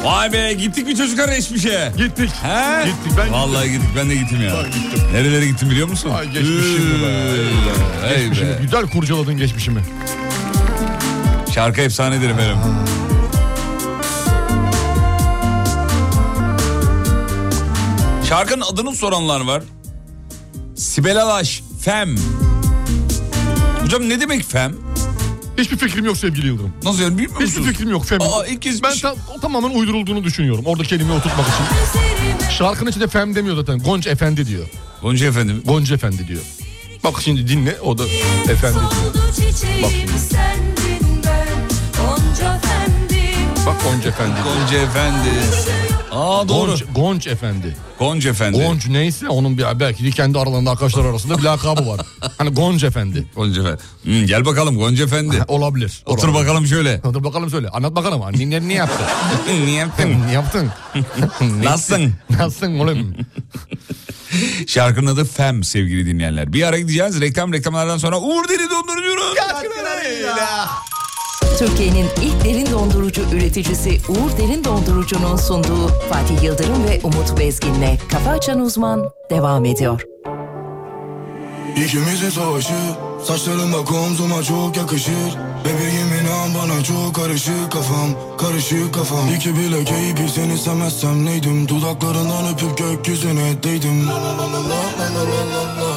Vay be gittik mi çocuklar Eşmiş'e?
Gittik.
He?
Gittik, ben
Vallahi gittik ben de gittim ya.
Ben gittim.
Nerelere gittim biliyor musun?
Ay, geçmişim be.
Ee, hey
Geçmişimi,
be.
güzel kurcaladın geçmişimi.
Şarkı efsanedir efendim. Şarkının adını soranlar var. Sibel Alaş, Fem. Hocam ne demek Fem?
Hiçbir fikrim yok sevgili Yıldırım.
Nasıl yani bilmiyor
Hiçbir
musunuz?
fikrim yok. Fem.
Aa, ilk kez
ben
bir- şey-
tam, o tamamen uydurulduğunu düşünüyorum. Orada kelimeyi oturtmak için. Şarkının içinde fem demiyor zaten. Gonca efendi diyor.
Gonca efendim.
Gonca efendi diyor. Bak şimdi dinle o da efendi diyor.
Soldu çiçeğim sendin ben Gonca efendim
Bak Gonca efendi.
Gonca efendi. Aa doğru.
Gonç, Gonç efendi.
Gonca efendi.
Gonç neyse onun bir belki de kendi aralarında arkadaşlar arasında bir lakabı
[LAUGHS]
var. Hani Gonç efendi. [LAUGHS]
Gonca efendi. Hmm, gel bakalım Gonca efendi.
Olabilir.
Otur
Olabilir.
bakalım şöyle.
Otur bakalım söyle. Anlat bakalım. Annen
[LAUGHS]
ne yaptı?
Niye yaptın?
ne Hmm, yaptın?
[LAUGHS] Nasılsın?
[LAUGHS] Nasılsın oğlum?
[LAUGHS] Şarkının adı Fem sevgili dinleyenler. Bir ara gideceğiz. Reklam reklamlardan sonra Uğur Deli Dondurucu'nun katkılarıyla.
Türkiye'nin ilk derin dondurucu üreticisi Uğur Derin Dondurucu'nun sunduğu Fatih Yıldırım ve Umut Bezgin'le Kafa Açan Uzman devam ediyor.
İkimizi savaşır Saçların bak omzuma çok yakışır Bebeğim inan bana çok karışık kafam Karışık kafam İki bilek eğip seni istemezsem neydim Dudaklarından öpüp gökyüzüne değdim La la la la la la la la la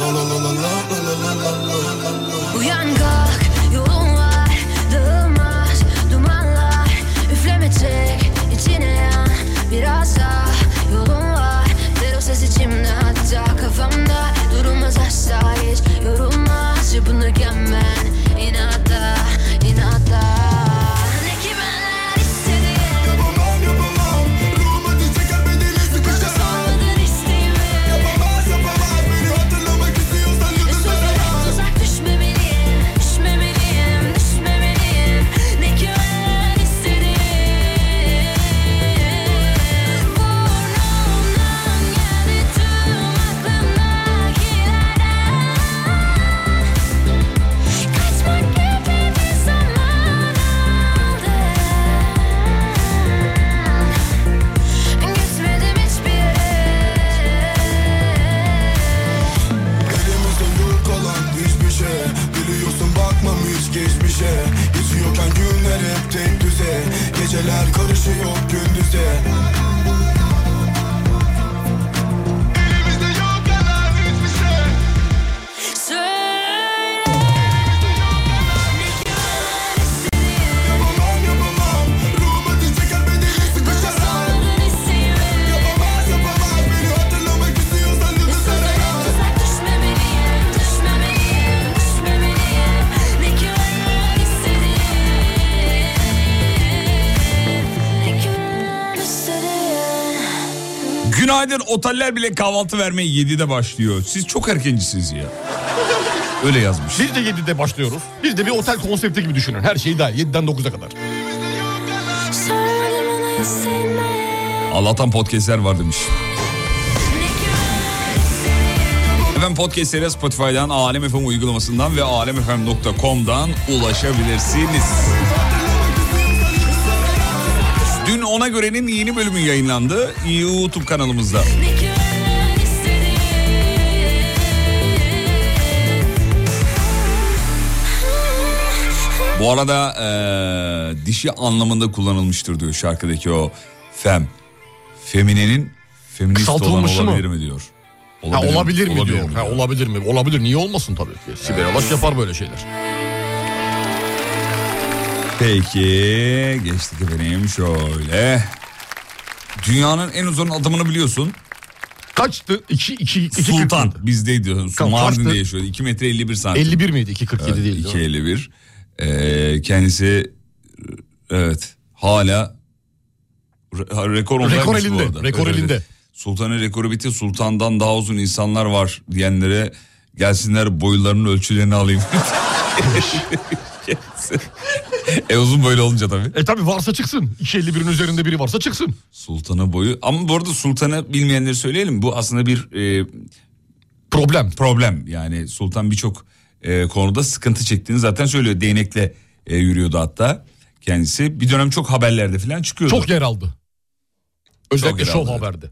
La la la la la la la la la la
Uyan kalk yolun var Dağılmaz dumanlar Üfleme çek içine yan Biraz daha yolun var Ter o ses içimde hatta kafamda Durulmaz asla hiç yorulmaz Çırpınırken ben inatta inatta Ne ki benler istediğin
Yapamam yapamam Ruhuma dizek el bedeli sıkışırsam
Olmadın isteğime
Yapamaz yapamaz Beni hatırlamak istiyorsan yıldızlara
Tuzak, tuzak düşmemeliyim, düşmemeliyim, düşmemeliyim Ne ki ben istedim Burnumdan geldi tüm aklımdakilerden Kaçmak gibi bir zaman aldım Gitmedim hiçbir yere
Elimizde yok olan hiçbir şey Biliyorsun bakmam hiç geçmişe Geçiyorken günler hep tek düze Geceler karışıyor gündüze Elimizde yok olan hiçbir şey
Söyle
Yapamam yapamam Ruhuma dizek el bedeli sıkışarak
Olmadın isteğime
Yapamaz yapamaz Beni hatırlamak istiyorsan yıldızlara yaz
Tuzak düşmemeliyim, düşmemeliyim, düşmemeliyim Ne ki ben istedim Ne ki ben istedim
Günaydın oteller bile kahvaltı vermeye 7'de başlıyor. Siz çok erkencisiniz ya. Öyle yazmış.
Biz de 7'de başlıyoruz. Biz de bir otel konsepti gibi düşünün. Her şey dahil 7'den 9'a kadar.
Söyledim bana isteme
Allah'tan podcastler var demiş.
Ne ki ben
Efendim podcastlere Spotify'dan, Alem FM uygulamasından ve alemfm.com'dan ulaşabilirsiniz. Dün Ona Göre'nin yeni bölümü yayınlandı YouTube kanalımızda.
Ne ki ben istedim
Bu arada eee, dişi anlamında kullanılmıştır diyor şarkıdaki o fem. Feminenin feminist olan
Kısaltılmışı mı?
olabilir mi diyor.
Ha, olabilir mi Ee,
olabilir
diyor. Ha, olabilir mi? Olabilir. Niye olmasın tabii ki. Sibel Alaş yapar böyle şeyler.
Peki geçtik efendim şöyle. Dünyanın en uzun adımını biliyorsun.
Kaçtı? 2 2 2
Sultan bizdeydi.
Kaç-
Mardin'de
kaçtı?
yaşıyordu. 2 metre 51 santim.
51 miydi? 2.47
Evet,
değildi.
2.51. Ee, kendisi evet hala re- ha, rekor ondaymış
Rekor
bu
elinde,
arada.
rekor
Evet,
elinde.
evet. Sultanın rekoru bitti. Sultandan daha uzun insanlar var diyenlere gelsinler boylarının ölçülerini alayım. [LAUGHS] Gelsin. e uzun böyle olunca tabii.
E tabi varsa çıksın. 2.51'in üzerinde biri varsa çıksın.
Sultana boyu ama bu arada sultanı bilmeyenleri söyleyelim. Bu aslında bir e,
Problem.
problem. Yani sultan birçok e, konuda sıkıntı çektiğini zaten söylüyor. Değnekle e, yürüyordu hatta kendisi. Bir dönem çok haberlerde falan çıkıyordu.
Çok yer aldı. Özellikle
Çok
şov
herhalde.
haberde.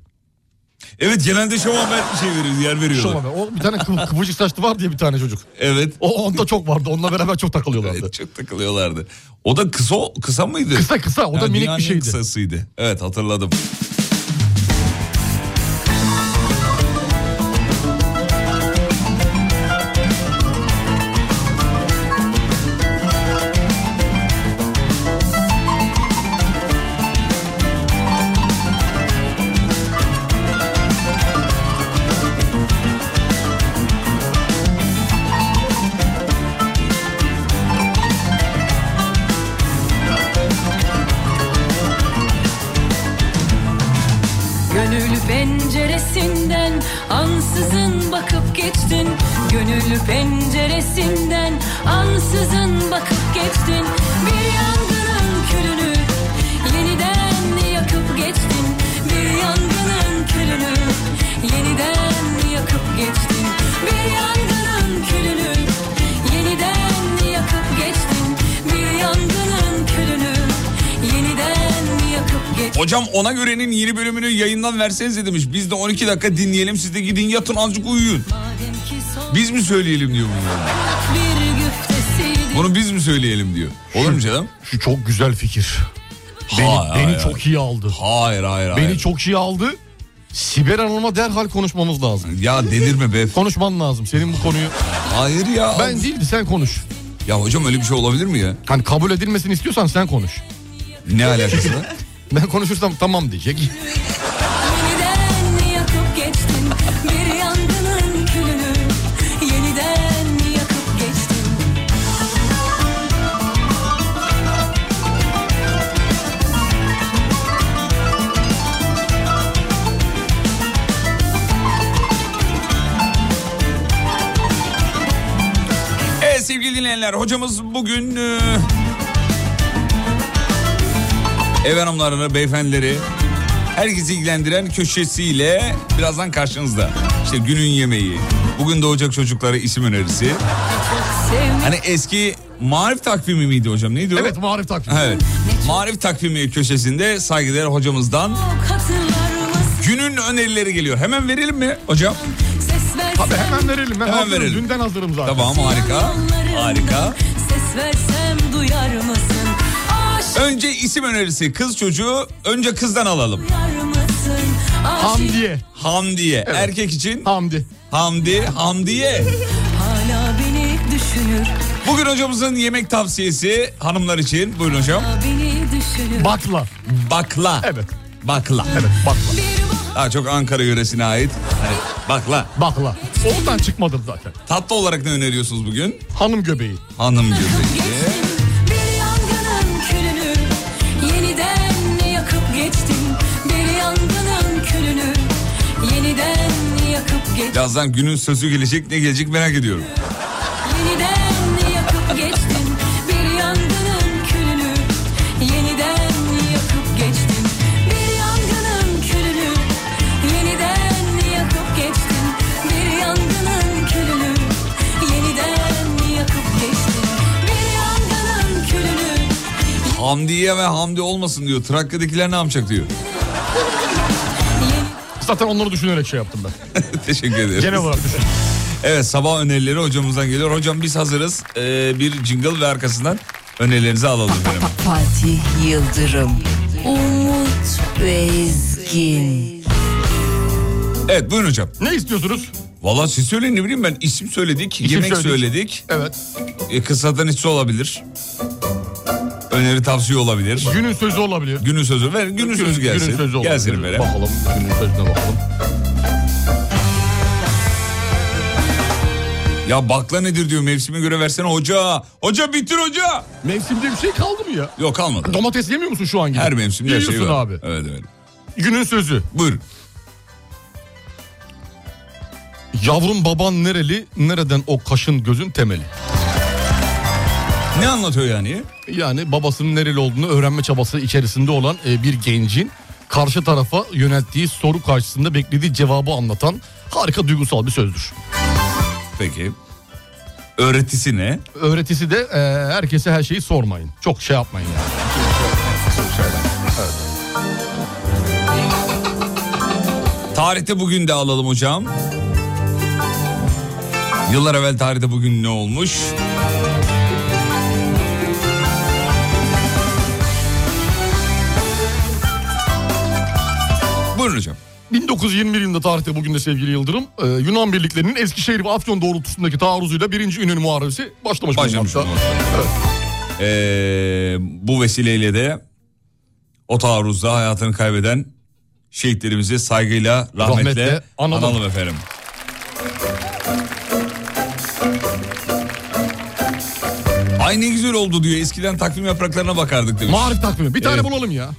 Evet genelde şov haber şey veriyor, yer veriyorlar.
Şov haber. O bir tane kıv- kıvırcık saçlı vardı ya bir tane çocuk.
Evet.
O onda çok vardı. Onunla beraber çok takılıyorlardı.
Evet, çok takılıyorlardı. O da kısa kısa mıydı?
Kısa kısa. O da
Yani
minik
dünyanın
bir
en
şeydi.
kısasıydı. Evet hatırladım.
Gönül penceresinden ansızın bakıp geçtin Gönül penceresinden ansızın bakıp geçtin Bir yangının külünü yeniden yakıp geçtin Bir yangının külünü yeniden yakıp geçtin Bir yangının külünü yeniden yakıp geçtin Bir yangının külünü yeniden yakıp geçtin
Hocam ona görenin yeni bölümünü yayından versenize demiş. Biz de 12 dakika dinleyelim siz de gidin yatın azıcık uyuyun.
Madem ki son
Biz mi söyleyelim diyor bunu.
bir güftesiydi.
Bunu biz mi söyleyelim diyor. Olur mu canım?
Şu çok güzel fikir. Beni,
Hayır,
beni
hayır.
çok iyi aldı.
Hayır hayır hayır.
Beni çok iyi aldı. Sibel Hanım'a derhal konuşmamız lazım.
Ya delirme be.
Konuşman lazım. Senin bu konuyu...
Hayır ya.
Ben değildi sen konuş.
Ya hocam öyle bir şey olabilir mi ya?
Hani kabul edilmesini istiyorsan sen konuş.
Ne alakası var?
[LAUGHS] Ben konuşursam tamam diyecek.
Yeniden yakıp geçtin bir yangının külünü. Yeniden yakıp geçtin.
Evet sevgili dinleyenler hocamız bugün e, ev hanımlarını, beyefendileri herkesi ilgilendiren köşesiyle birazdan karşınızda. İşte günün yemeği, bugün doğacak çocuklara isim önerisi.
Sevmek
Hani eski marif takvimi miydi hocam neydi o?
Evet marif takvimi.
Evet. Marif takvimi köşesinde saygıdeğer hocamızdan
yok hatırlar mısın?
günün önerileri geliyor. Hemen verelim mi hocam?
Ses versem
Abi hemen verelim. Ben
Hemen
hazırım.
verelim.
Dünden hazırım zaten.
Tamam harika.
yollarından.
Harika.
Ses versem duyar mısın? Aşık
Önce isim önerisi kız çocuğu önce kızdan alalım.
duyar mısın? Aşık
Hamdiye.
Hamdiye erkek için
Hamdi.
Hamdi Hamdiye.
hala beni düşünür.
Bugün hocamızın yemek tavsiyesi hanımlar için. Buyurun hocam.
hala Beni düşünür.
Bakla.
Bakla.
Evet.
Bakla.
Evet bakla.
Bir bahar
Daha çok Ankara yöresine ait. Hani bakla.
Bakla. Oradan çıkmadım zaten.
Tatlı olarak ne öneriyorsunuz bugün?
Hanım göbeği.
Hanım göbeği.
Geçtim bir yangının külünü yeniden yakıp geçtim bir yangının külünü yeniden yakıp geçtim
Birazdan günün sözü gelecek ne gelecek merak ediyorum.
yeniden yakıp geçtim bir yangının külünü yeniden yakıp geçtim bir yangının külünü yeniden yakıp geçtim bir yangının külünü yeniden yakıp geçtim bir yangının külünü
Hamdiye ve Hamdi olmasın diyor. Trakya'dakiler ne yapacak diyor.
Zaten onları düşünerek şey yaptım ben.
[LAUGHS] Teşekkür ederiz.
Genel olarak düşün.
Evet sabah önerileri hocamızdan geliyor. Hocam biz hazırız. Ee, bir jingle ve arkasından önerilerinizi alalım. efendim.
Fatih Yıldırım, Umut Bezgin.
Evet buyurun hocam.
Ne istiyorsunuz?
Valla siz söyleyin ne bileyim ben isim söyledik, yemek söyledik.
Evet.
E, kısadan hissi olabilir. Öneri tavsiye olabilir.
Günün sözü olabilir.
Günün sözü ver, günün sözü gelsin.
Günün sözü olabilir.
gelsin böyle.
Bakalım günün sözüne bakalım.
Ya bakla nedir diyor mevsime göre versene hoca. Hoca bitir hoca.
Mevsimde bir şey kaldı mı ya?
Yok kalmadı.
Domates yemiyor musun şu an gibi?
Her mevsimde her şey
Yiyorsun
var.
abi.
Evet evet.
Günün sözü.
Buyurun.
Yavrum baban nereli, nereden o kaşın gözün temeli.
Ne anlatıyor yani?
Yani babasının nereli olduğunu öğrenme çabası içerisinde olan e, bir gencin karşı tarafa yönelttiği soru karşısında beklediği cevabı anlatan harika duygusal bir sözdür.
Peki. Öğretisi ne?
Öğretisi de e, herkese her şeyi sormayın. Çok şey yapmayın yani.
Tarihte bugün de alalım hocam. Yıllar evvel tarihte bugün ne olmuş? Buyurun hocam.
1921 yılında tarihte bugün de sevgili Yıldırım e, Yunan birliklerinin Eskişehir ve Afyon doğrultusundaki taarruzuyla 1. İnönü Muharebesi başlamış
Başlamış
bulunmakta.
bulunmakta. Ee, bu vesileyle de o taarruzda hayatını kaybeden şehitlerimize saygıyla, rahmetle,
Rahmetle analım.
analım. efendim. Ay ne güzel oldu diyor. Eskiden takvim yapraklarına bakardık demiş.
Marif takvimi. Bir tane
Evet.
bulalım ya.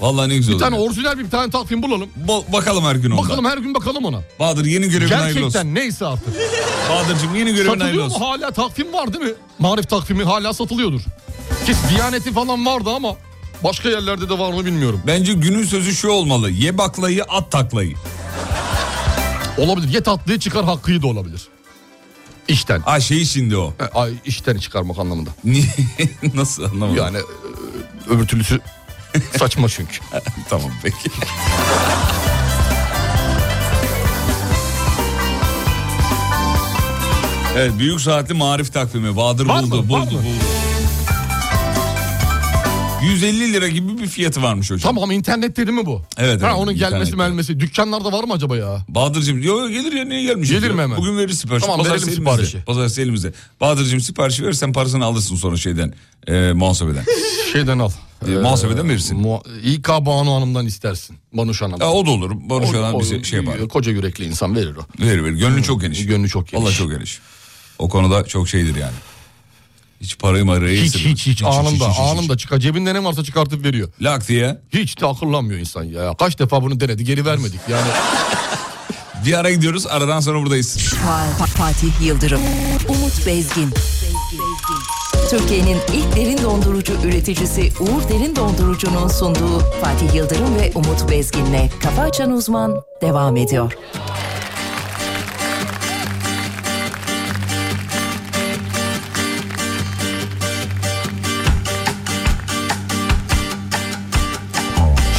Vallahi ne güzel
Bir tane
oldu.
orijinal bir tane takvim bulalım.
Ba- bakalım her gün onda.
Bakalım her gün bakalım ona.
Bahadır yeni görevin hayırlı olsun.
Gerçekten neyse artık.
[LAUGHS] Bahadır'cığım yeni görevin hayırlı
Satılıyor
olsun.
mu hala takvim var değil mi? Marif takvimi hala satılıyordur. Kes Diyaneti falan vardı ama başka yerlerde de var mı bilmiyorum.
Bence günün sözü şu olmalı. Ye baklayı at taklayı.
Olabilir. Ye tatlıyı çıkar hakkıyı da olabilir. İşten.
Ha şey şimdi o.
E, Ay işten çıkarmak anlamında.
Niye? [LAUGHS] Nasıl anlamadım.
Yani e, öbür türlüsü [LAUGHS] saçma çünkü.
[LAUGHS] Tamam peki. Evet büyük saatli marif takvimi Bahadır
Var mı?
buldu,
Var
buldu,
mı?
buldu. 150 lira gibi bir fiyatı varmış hocam.
Tamam internet dedi mi bu?
Evet,
Ha,
evet,
onun gelmesi
internette.
melmesi. Dükkanlarda var mı acaba ya?
Bahadır'cığım yo yo, gelir ya niye gelmiş?
Gelir mi hemen?
Bugün verir sipariş.
Tamam, verelim
elimizde.
siparişi.
Pazartesi elimizde. Bahadır'cığım siparişi verirsen parasını alırsın sonra şeyden. E, muhasebeden.
Şeyden al.
Ee, muhasebeden verirsin.
Muha- İK Banu Hanım'dan istersin. Banuş Hanım'dan.
ya, o da olur. Barış olan bir şey, şey yapar.
Koca yürekli insan verir o.
Verir verir. Gönlü çok geniş.
Gönlü çok geniş.
Valla çok geniş. O konuda çok şeydir yani. Hiç parayı marayı
Hiç
istemez.
hiç hiç, anında anında çıkar. Cebinde ne varsa çıkartıp veriyor.
Lak diye
Hiç de akıllanmıyor insan ya. Kaç defa bunu denedi geri vermedik.
[LAUGHS]
Yani
bir ara gidiyoruz aradan sonra buradayız.
Fa- Fa- Fatih Yıldırım, Umut Bezgin. Türkiye'nin ilk derin dondurucu üreticisi Uğur Derin Dondurucu'nun sunduğu Fatih Yıldırım ve Umut Bezgin'le Kafa Açan Uzman devam ediyor.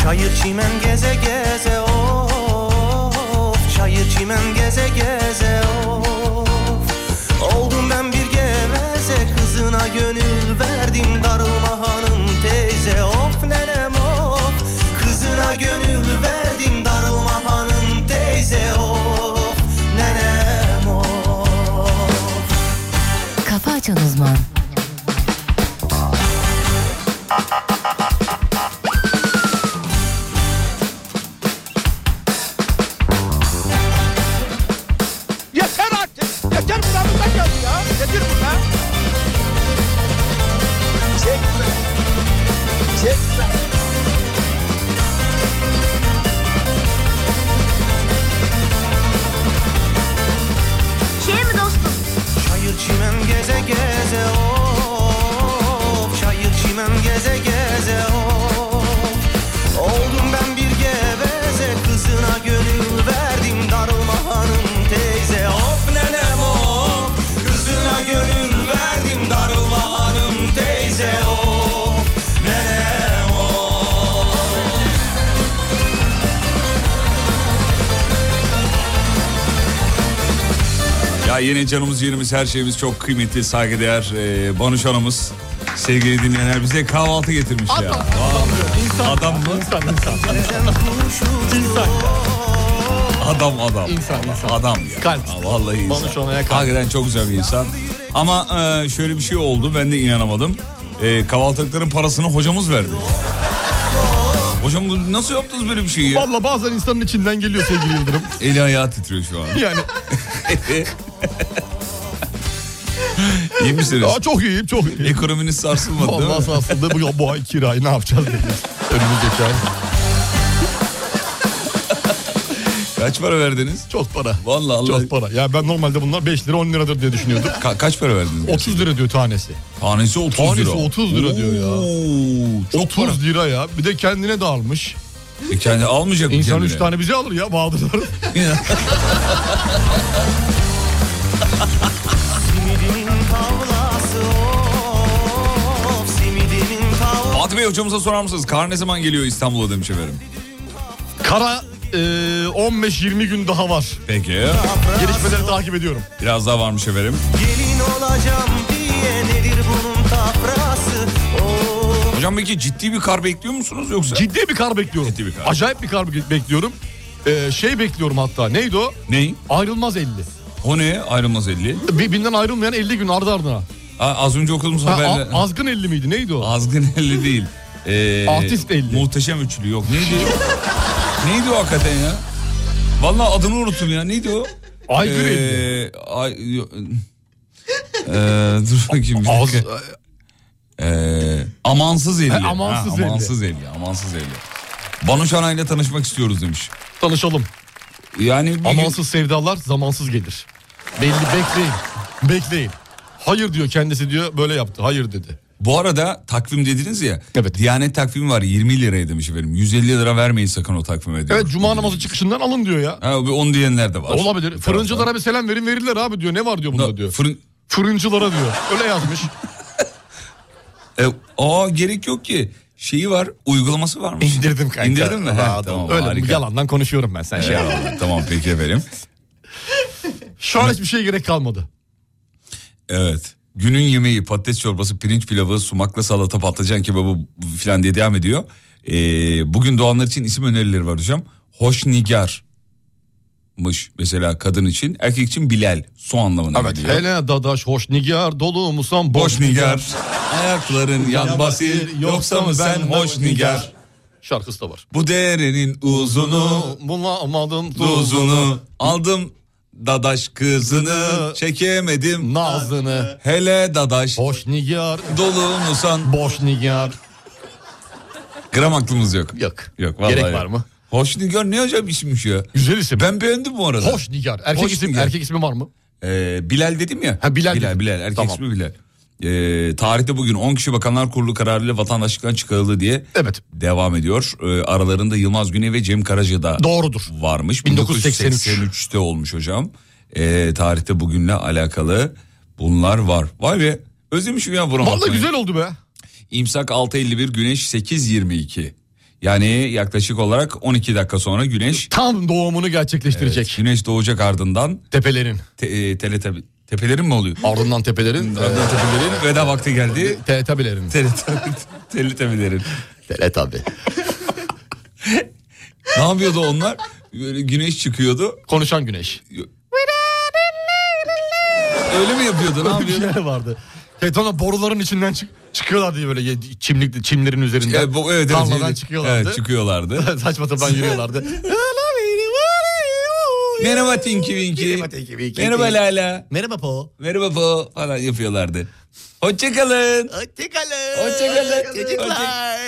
Çayır çimen geze geze of Çayır çimen geze geze of Oldum ben bir geveze kızına gönül verdim Darılma hanım teyze of nenem of Kızına gönül verdim darılma hanım teyze of Nenem of
Kafa Açan Uzman.
Yeter artık. Yeter buna buna gel ya. Yeter buna. Çekme. Çekme.
Şey mi dostum?
Çayır çimen geze geze of Çayır çimen geze geze of Oldum ben bir geveze kızına gönül verdim Darılma hanım teyze of nenem of Kızına gönül verdim darılma hanım teyze of Nenem of
Ya yine canımız yerimiz her şeyimiz çok kıymetli saygıdeğer e, Banuş Hanım'ız. Sevgili dinleyenler bize kahvaltı getirmiş ya. Vallahi. Adam mı? Adam adam.
İnsan,
Adam,
insan.
Adam ya.
Kalp.
Ha, Vallahi insan.
Banuş Hanım'a kalp.
Hakikaten çok güzel bir insan. Ama e, şöyle bir şey oldu ben de inanamadım. E, kahvaltılıkların parasını hocamız verdi. Hocam bu- nasıl yaptınız böyle bir şeyi ya?
valla bazen insanın içinden geliyor sevgili
[LAUGHS]
Yıldırım.
Eli ayağı titriyor şu an.
Yani
İyi misiniz?
Aa, çok iyiyim çok iyiyim.
Ekonominiz sarsılmadı değil mi?
Vallahi aslında bu, bu ay kirayı ne yapacağız
[LAUGHS]
dedik. Önümüzdeki ay.
[LAUGHS] Kaç para verdiniz?
Çok para.
Vallahi Allah-
Çok para. Ya ben normalde bunlar 5 lira 10 liradır diye düşünüyordum.
Ka- kaç para verdiniz?
30 lira diyor tanesi.
Tanesi 30
Tanesi
lira.
30 lira diyor ya.
Oo, çok
30
para.
lira ya. Bir de kendine de almış.
E kendi almayacak mı
İnsan
kendine?
3 tane bize alır ya Bahadır'dan.
Simidimin tavlası of Simidimin tavlası
Fatih Bey hocamıza sorar mısınız? Kar ne zaman geliyor İstanbul'a demiş efendim.
Kara e, e, 15-20 gün daha var.
Peki.
Gelişmeleri takip ediyorum.
Biraz daha varmış efendim.
Gelin olacağım diye nedir bunun tafrası
[LAUGHS]
Oh
Hocam peki ciddi bir kar bekliyor musunuz yoksa?
Ciddi bir kar bekliyorum.
Ciddi bir kar.
Acayip bir kar be- bekliyorum. E, şey bekliyorum hatta neydi o?
Ney?
Ayrılmaz 50.
O ne? Ayrılmaz 50.
Birbirinden ayrılmayan 50 gün ardı ardına.
Ha, az önce okuduğumuz
Ha,
haberde.
a- azgın 50 miydi neydi o?
Azgın 50
[LAUGHS]
değil. Ee,
Artist 50.
Muhteşem üçlü yok. Neydi? neydi o hakikaten ya? Vallahi adını unuttum ya. Neydi o?
Aygır 50.
Ee, ay, yo- Ee, dur bakayım bir
Az,
dakika. Ee, amansız 50.
He, amansız
Ha,
50.
amansız 50. Amansız 50. Banu Şanay'la tanışmak istiyoruz demiş.
tanışalım.
Yani bir gün-
Amansız sevdalar zamansız gelir. Belli bekleyin. Bekleyin. Hayır diyor kendisi diyor böyle yaptı. Hayır dedi.
Bu arada takvim dediniz ya.
Evet.
Diyanet takvimi var 20 liraya demiş efendim. 150 lira vermeyin sakın o takvime. diyor.
Evet cuma namazı çıkışından alın diyor ya.
Ha, bir onu diyenler de var.
Olabilir.
Bir taraftan.
Fırıncılara bir selam verin verirler abi diyor. Ne var diyor bunda
Da-
diyor.
Fırın...
Fırıncılara diyor. Öyle yazmış.
E, aa gerek yok ki. Şeyi var uygulaması varmış.
İndirdim kanka.
İndirdin mi? Ha,
Rahat ol.
tamam,
Öyle
harika.
yalandan konuşuyorum ben sen şey. yapma.
Ya, tamam peki efendim.
Şu an hiçbir şeye gerek kalmadı.
Evet. Günün yemeği patates çorbası, pirinç pilavı, sumaklı salata, patlıcan kebabı filan diye devam ediyor. Ee, bugün doğanlar için isim önerileri var hocam. Hoş nigarmış mesela kadın için. Erkek için Bilal. Su anlamına geliyor.
Hele dadaş hoş nigar dolu musan
Boş nigar. Ayakların yan basil. Yoksa mı sen hoş nigar?
Şarkısı da var.
Bu derenin uzunu,
Bulamadım tuzunu
uzunu Aldım dadaş kızını. Çekemedim
nazını.
Hele dadaş.
Hoş nigar
Dolu musan?
boş nigar.
Gram aklımız yok.
Yok.
Yok vallahi.
Gerek
yok.
var mı?
Hoş Nigar ne acayip isimmiş ya.
Güzel isim.
Ben beğendim bu arada.
Hoş nigar. Erkek
Hoş
isim
nigar.
erkek ismi var mı?
Ee, Bilal dedim ya.
Ha, Bilal
Bilal,
dedim.
Bilal. Erkek
Tamam.
ismi Bilal. Ee, tarihte bugün 10 kişi bakanlar kurulu kararıyla vatandaşlıktan çıkarıldı diye
Evet.
devam ediyor. Ee, aralarında Yılmaz Güney ve Cem Karaca da
Doğrudur.
varmış.
1983.
1983'te olmuş hocam. Ee, tarihte bugünle alakalı bunlar var. Vay be özlemişim ya buram.
Vallahi güzel oldu be.
İmsak 6.51 güneş 8.22. Yani yaklaşık olarak 12 dakika sonra güneş
Tam doğumunu gerçekleştirecek.
Güneş doğacak ardından
Tepelerin.
te, e, teletabi- tepelerin mi oluyor?
Ardından tepelerin.
Ardından tepelerin veda vakti geldi.
Teletabilerin.
Teletabi- Teletabilerin.
Teletabi.
Ne yapıyordu onlar? Böyle güneş çıkıyordu.
Konuşan güneş.
Öyle mi yapıyordu? Ne
Böyle bir
yapıyordu?
şeyler vardı. Tetona boruların içinden çık çıkıyorlar diye böyle ye- çimlik çimlerin üzerinden.
E, bu, evet, evet,
Tarladan
evet.
çıkıyorlardı.
Evet, çıkıyorlardı.
[LAUGHS] Saçma sapan yürüyorlardı.
Merhaba Tinky Winky.
Merhaba Tinky Winky.
Merhaba Lala.
Merhaba Po.
Merhaba Po falan yapıyorlardı. Hoşçakalın.
Hoşçakalın.
Hoşçakalın. Çocuklar.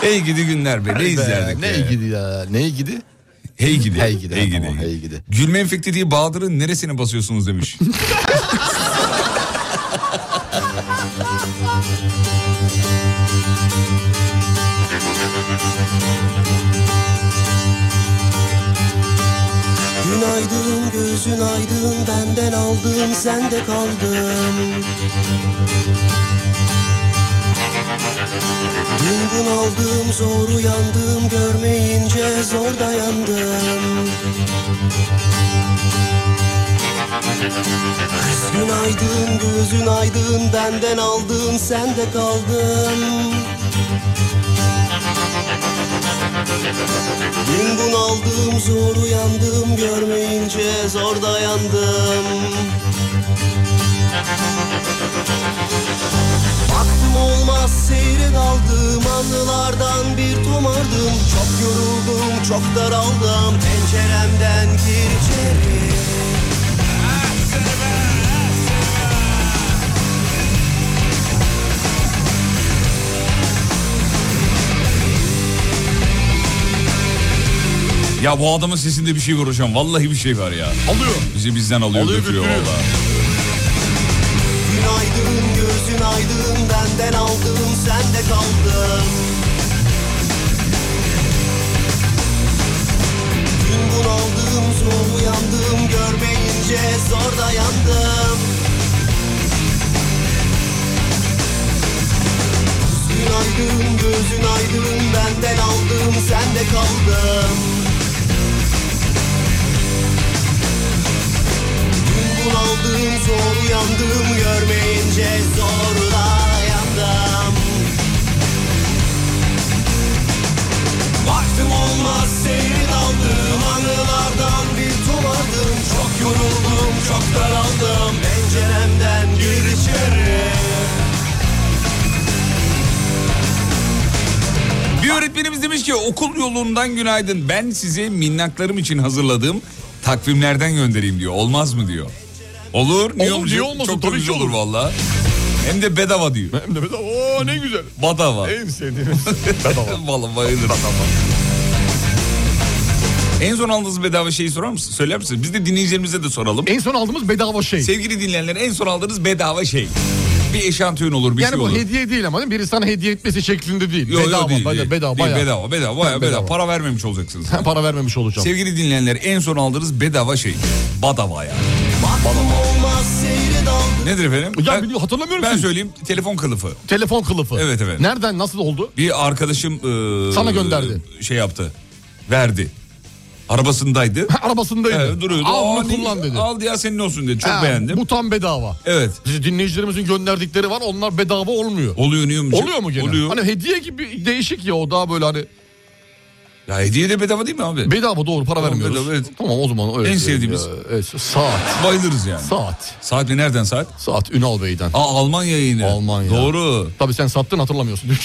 Hey gidi günler be. Ne izlerdik
Ne
be.
iyi gidi ya. Ne iyi gidi?
Hey gidi.
Hey gidi,
Hey
tamam,
gidi.
hey gidi.
Gülme enfekti diye Bahadır'ın neresine basıyorsunuz
[LAUGHS]
demiş.
Günaydın gözün aydın benden aldım sende kaldım Dün gün aldım zor uyandım görmeyince zor dayandım Kız günaydın gözün aydın benden aldın sende kaldım Dün bunaldım zor uyandım görmeyince zor dayandım Baktım olmaz seyre daldım anılardan bir tomardım Çok yoruldum çok daraldım penceremden gir içeri
ya bu adamın sesinde bir şey var hocam. Vallahi bir şey var ya.
Alıyor.
Bizi bizden alıyor,
Alıyor,
götürüyor
götürüyor.
valla.
Günaydın gözün aydın benden aldım sende kaldım Gün bunaldım zor uyandım görmeyince zor dayandım Günaydın gözün aydın benden aldım sende kaldım ve zorla yandım Vaktim olmaz seyir aldım Anılardan bir tumardım Çok yoruldum çok daraldım Penceremden gir içeri
Bir öğretmenimiz demiş ki okul yolundan günaydın. Ben size minnaklarım için hazırladığım takvimlerden göndereyim diyor. Olmaz mı diyor. Olur. Niye
Olur,
olmayacak?
niye olmasın?
Çok
Tabii
tabii
ki
olur
olur.
valla. Hem de bedava diyor.
Hem de bedava. Oo ne güzel.
Bedava. [LAUGHS]
En sevdiğimiz. bedava.
Valla bayılırım. En son aldığınız bedava şeyi sorar mısın? Söyler misin? Biz de dinleyicilerimize de soralım.
En son aldığımız bedava şey.
Sevgili dinleyenler en son aldığınız bedava şey. Bir eşantiyon olur bir
yani
şey
bu
olur.
hediye değil ama değil mi? Biri sana hediye etmesi şeklinde değil.
Yo, yo,
bedava,
değil,
bayağı,
değil.
bedava,
Değil,
bayağı.
bedava, bedava, bayağı bedava.
Bedava.
Para vermemiş olacaksınız.
Ben para vermemiş [LAUGHS] olacağım.
Sevgili dinleyenler en son aldığınız bedava şey. Badava ya.
Vaktim olmaz seyri daldım
Nedir efendim?
Ya biliyorum, hatırlamıyorum
Ben
ki.
söyleyeyim telefon kılıfı.
Telefon kılıfı.
Evet, evet.
Nereden nasıl oldu?
Bir arkadaşım e,
Sana gönderdi.
Şey yaptı. Verdi. Arabasındaydı.
[LAUGHS] Arabasındaydı.
Evet, duruyordu.
Al
Aa,
bunu kullan dedi.
Al ya senin olsun dedi. E, Çok
Ha,
beğendim.
Bu tam bedava.
Evet.
Bizi dinleyicilerimizin gönderdikleri var onlar bedava olmuyor.
Oluyor niye olmayacak?
Oluyor mu gene?
Oluyor.
Hani hediye gibi değişik ya o daha böyle hani
Ya hediye de bedava değil mi abi?
bedava doğru para
Tamam,
vermiyoruz.
bedava, evet.
Tamam o zaman öyle.
En
diyelim
sevdiğimiz.
ya. Evet, saat.
Bayılırız yani.
Saat.
Saat ne nereden saat?
Saat Ünal Bey'den.
Aa Almanya yayını.
Almanya.
Doğru.
Tabii sen sattın hatırlamıyorsun. [LAUGHS]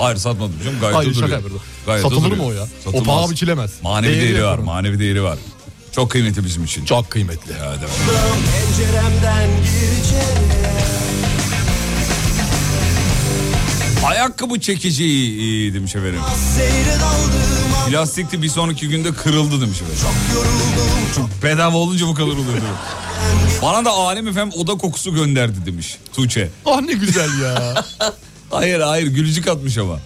Hayır satmadım canım gayet
Hayır
de duruyor.
şaka yapıyorum.
Gayet de
Satılır mı
duruyor.
o ya?
Satılmaz.
O paha biçilemez.
Manevi değeri,
Değeri
var.
yaparım.
Manevi değeri var. Çok kıymetli bizim için.
Çok kıymetli.
Ya, evet.
Penceremden gir içeri
Ayakkabı çekici iyi demiş efendim.
Seyri daldım
Plastikti bir sonraki günde kırıldı demiş efendim. Çok bedava olunca bu kadar oluyor. diyor. Bana da Alem efendim oda kokusu gönderdi demiş Tuğçe.
Ah ne güzel ya.
[LAUGHS] Hayır hayır gülücük atmış ama.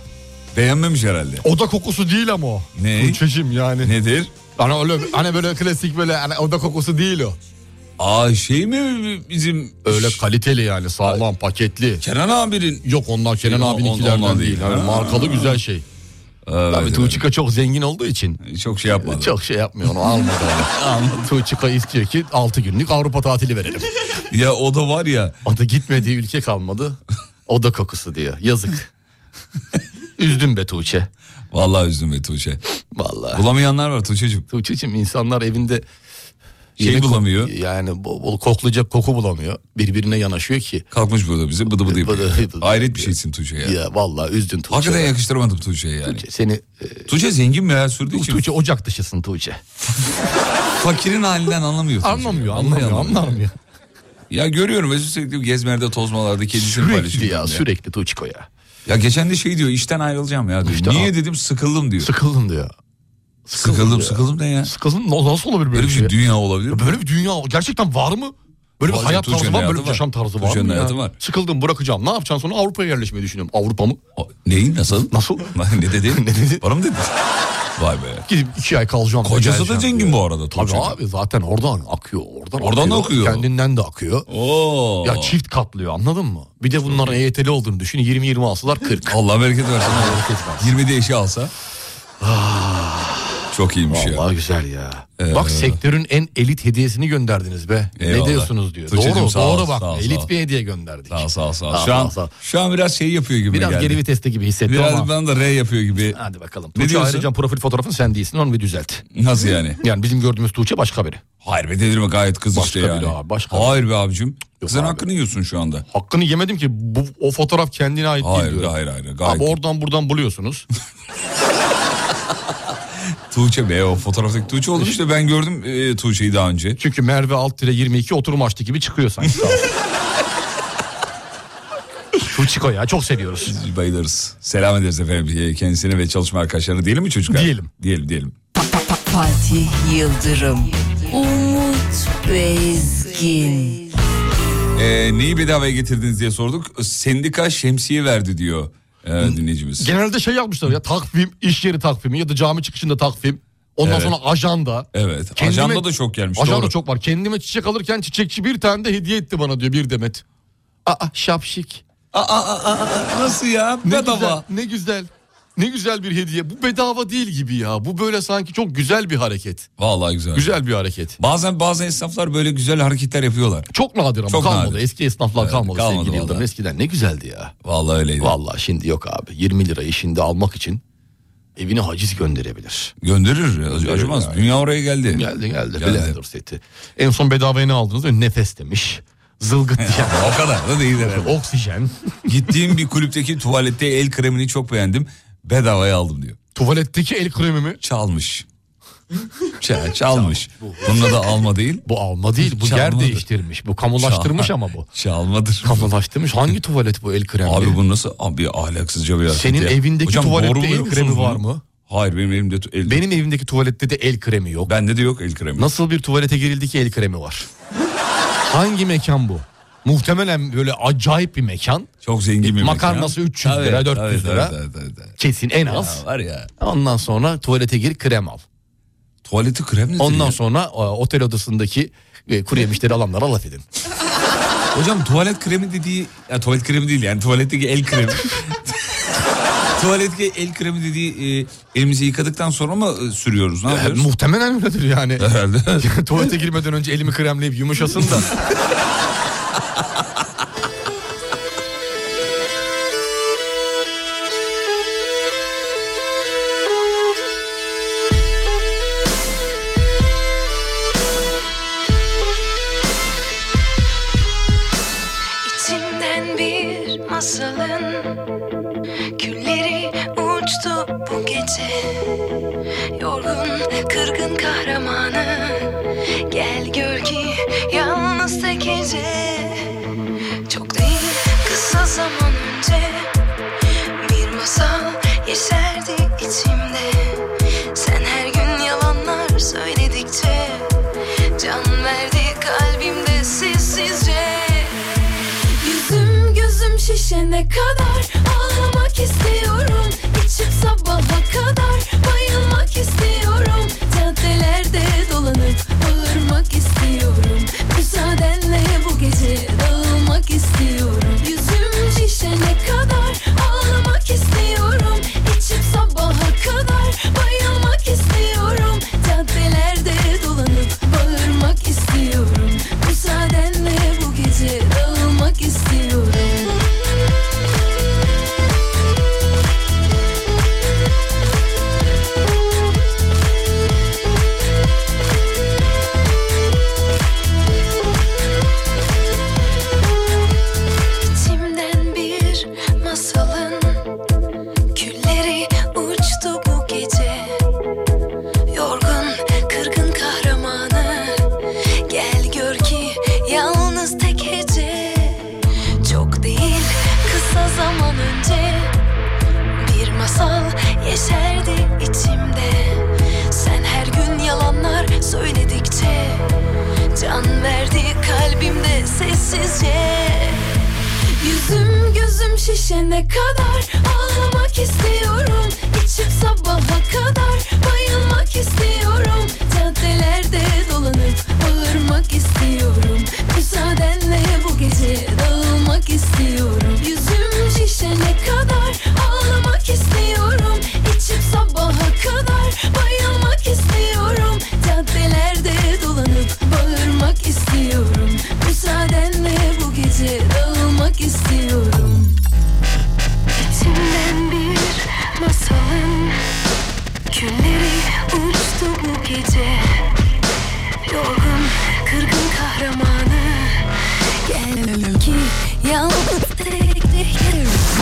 Beğenmemiş herhalde.
oda kokusu değil ama o.
Ne?
Tuğçe'cim yani.
Nedir?
Hani, öyle, hani böyle klasik böyle hani oda kokusu değil o.
Aa şey mi bizim...
Öyle
Şş,
kaliteli yani sağlam paketli.
Kenan abinin...
Yok onlar Kenan
Yok,
abininkilerden
onlar değil.
değil. Hani
Ha.
markalı güzel şey.
Evet,
Tabii Tuğçika çok zengin olduğu için
evet. Çok şey yapmadı.
çok şey yapmıyor onu almadı.
[LAUGHS]
onu. Tuğçika istiyor ki 6 günlük Avrupa tatili verelim.
Ya o da var ya.
O da gitmediği ülke kalmadı. O da kokusu diyor.
[LAUGHS]
Yazık. Üzdüm be Tuğçe.
Vallahi üzdüm be Tuğçe.
Vallahi.
Bulamayanlar var Tuğçe'cim.
Tuğçe'cim insanlar evinde
Şey
yemek-
bulamıyor.
Yani bol, bol koklayacak koku bulamıyor. Birbirine yanaşıyor ki.
Kalkmış burada bize bıdı bıdı yapıyor.
Bıdı bıdı
Hayret bir
yapıyor.
şeysin Tuğçe ya.
Ya vallahi üzdün Tuğçe.
Hakikaten yakıştıramadım Tuğçe'ye yani. Tuğçe,
Tuğçe seni e,
zengin mi ya sürdüğü için?
Tuğçe ocak dışısın Tuğçe.
Fakirin halinden anlamıyor. Tuğçe.
Anlamıyor,
Vallahi
anlamıyor, anlamıyor.
Ya görüyorum Mesut sürekli gezmerde tozmalarda kedisini
Sürekli
paylaşıyor.
ya, sürekli Tuğçiko ya.
Ya geçen de şey diyor işten ayrılacağım ya diyor.
İşte
Niye
al-
dedim sıkıldım diyor.
Sıkıldım diyor.
sıkıldım
diyor.
sıkıldım ne ya?
Sıkıldım na- nasıl olabilir böyle,
Böyle bir şey
Dünya,
dünya olabilir mi?
böyle bir dünya gerçekten var mı? Böyle bir
Var,
hayat
Tuğçe'nin
tarzı var, böyle
hayatı
bir
var.
yaşam tarzı var
Tuğçe'nin
mı
hayatı
ya?
var.
Sıkıldım bırakacağım. Ne yapacaksın sonra Avrupa'ya yerleşmeyi düşünüyorum. Avrupa mı?
O- Neyin nasıl?
Nasıl?
[LAUGHS] ne dedi?
[LAUGHS] Ne dedi?
Bana mı dedi? Vay be.
Gidip iki ay kalacağım.
Kocası da
geleceğim
zengin
diyor.
bu arada
Tabii
Tuğçe'nin.
abi zaten oradan akıyor. Oradan,
Oradan da akıyor.
Kendinden de akıyor.
Oo.
Ya çift katlıyor anladın mı? Bir de bunların EYT'li olduğunu düşün. 20-20 alsalar 40.
Allah bereket versin.
bereket versin.
20'de eşi alsa. Çok iyiymiş ya.
Vallahi güzel ya. Bak sektörün en elit hediyesini gönderdiniz be.
Ee. Eyvallah.
Ne diyorsunuz diyor.
Tuğçe'cim
doğru
sağ ol,
doğru bak.
sağ ol,
elit
sağ ol.
bir hediye gönderdik.
Sağ ol, sağ ol, sağ ol.
Sağ ol,
Şu an,
sağ ol.
şu an biraz şey yapıyor gibi
Biraz
geldi.
geri viteste gibi hissettim
Biraz
ama.
bana da R yapıyor gibi.
Hadi bakalım.
Ne
Tuğçe
diyorsun?
ayrıca profil fotoğrafın sen değilsin onu bir düzelt.
Nasıl yani?
[LAUGHS] Yani bizim gördüğümüz Tuğçe başka biri.
Hayır be delirme gayet kız
Başka
işte
biri
yani.
abi, başka
Hayır be abicim. Kızın
abi.
hakkını yiyorsun şu anda.
Hakkını yemedim ki bu o fotoğraf kendine ait
Hayır
değil diyor.
hayır hayır. Gayet.
Abi oradan
[LAUGHS]
buradan buluyorsunuz.
Tuğçe be o fotoğraftaki Tuğçe oldu işte ben gördüm e, Tuğçe'yi daha önce.
Çünkü Merve alt tire 22 oturum açtı gibi çıkıyor
[LAUGHS]
sanki. Sağ ol. Tuğçiko ya çok seviyoruz.
Bayılırız. Selam ederiz efendim e, kendisine ve çalışma arkadaşlarına diyelim mi çocuklar?
Diyelim.
Diyelim diyelim.
Fatih Yıldırım, Umut Bezgin,
E, neyi bedavaya getirdiniz diye sorduk. Sendika şemsiye verdi diyor e, dinleyicimiz.
Genelde şey yapmışlar ya takvim, iş yeri takvimi ya da cami çıkışında takvim. Ondan
Evet.
sonra ajanda.
Evet.
Kendime-
ajanda da çok gelmiş.
Ajanda
doğru.
çok var. Kendime çiçek alırken çiçekçi bir tane de hediye etti bana diyor bir demet. Aa şapşik.
Aa, aa, aa, aa, nasıl ya?
Ne
Bedava.
güzel. Ne güzel. Ne güzel bir hediye. Bu bedava değil gibi ya. Bu böyle sanki çok güzel bir hareket.
Vallahi güzel.
Güzel bir hareket.
Bazen bazı esnaflar böyle güzel hareketler yapıyorlar.
Çok nadir ama
Çok
kalmadı.
nadir.
Eski esnaflar
Evet,
kalmadı,
kalmadı
sevgili Yıldırım.
vallahi.
Eskiden ne güzeldi ya.
Vallahi öyleydi.
Vallahi şimdi yok abi. 20 lirayı şimdi almak için evine haciz gönderebilir.
Gönderir, ac- acımaz.
yani.
Dünya oraya geldi.
Geldi geldi.
Geldi.
Blender seti. En son bedavaya ne aldınız? Nefes demiş. Zılgıt ya.
O kadar da değil herhalde.
Oksijen.
[LAUGHS] Gittiğim bir kulüpteki tuvalette el kremini çok beğendim. Bedavaya aldım diyor.
Tuvaletteki el kremi mi?
Çalmış. Ç- çalmış. Bununla da alma değil.
Bu alma değil. Bu yer
Çalmadı.
değiştirmiş. Bu kamulaştırmış ama bu.
[LAUGHS] Çalmadır.
Kamulaştırmış. Hangi tuvalet bu el kremi?
Abi bu nasıl abi ahlaksızca bir hareket
Senin
ya.
evindeki
Hocam
tuvalette
doğruluyor
el
musunuz
kremi
bunu?
var mı?
Hayır benim elimde tu- el
Benim evimdeki tuvalette de el kremi yok.
Bende de yok el kremi.
Nasıl bir tuvalete girildi ki el kremi var? Hangi mekan bu? Muhtemelen böyle acayip bir mekan. E,
Çok zengin bir
Makarnası
mekan.
300 lira,
Tabii,
400
tabii,
lira.
tabii, tabii, tabii.
Kesin en az.
Ya var ya.
Ondan sonra tuvalete gir krem al.
Tuvaleti krem nedir
Ondan
ya?
sonra e, otel odasındaki e, kuru yemişleri alanlara laf edin. E,
Hocam tuvalet kremi dediği... Ya, tuvalet kremi değil yani tuvaletteki el
[LAUGHS]
kremi. tuvaletteki el kremi dediği e, elimizi yıkadıktan sonra mı e, sürüyoruz? Ne
E,
yapıyoruz?
muhtemelen öyledir [LAUGHS] yani.
Herhalde.
Tuvalete girmeden önce elimi kremleyip yumuşasın da.
İçimden bir masalın külleri uçtu bu gece Yorgun kırgın kahramanı gel gör ki yalnız tek gece Çok değil kısa zaman önce bir masal yeşerdi içimde Sen her gün yalanlar söyledikçe can verdi kalbimde sessizce Yüzüm gözüm şişene kadar Ağlamak istiyorum İçim sabaha kadar Bayılmak istiyorum Caddelerde dolanıp Bağırmak istiyorum Müsaadenle bu gece Dağılmak istiyorum Yüzüm şişene kadar Ağlamak istiyorum İçim sabaha kadar Bayılmak istiyorum Caddelerde dolanıp Bağırmak istiyorum Müsaadenle bu gece dağılmak istiyorum İçimden bir masalın külleri uçtu bu gece Yorgun kırgın kahramanı Gel gör ki yalnız tek hece Çok değil kısa zaman önce Bir masal yeşerdi içimde Sen her gün yalanlar söyledikçe Can verdi kalbimde sessizce Yüzüm gözüm şişene kadar Ağlamak istiyorum İçim sabaha kadar Bayılmak istiyorum Caddelerde dolanıp Bağırmak istiyorum Müsaadenle bu gece Dağılmak istiyorum Yüzüm şişene kadar Ağlamak istiyorum İçim sabaha kadar Bayılmak istiyorum Caddelerde dolanıp Bağırmak istiyorum Müsaadenle bu gece dağılmak istiyorum İçimden bir masalın Külleri uçtu bu gece Yorgun kırgın kahramanı Gel ki yalnız tek tek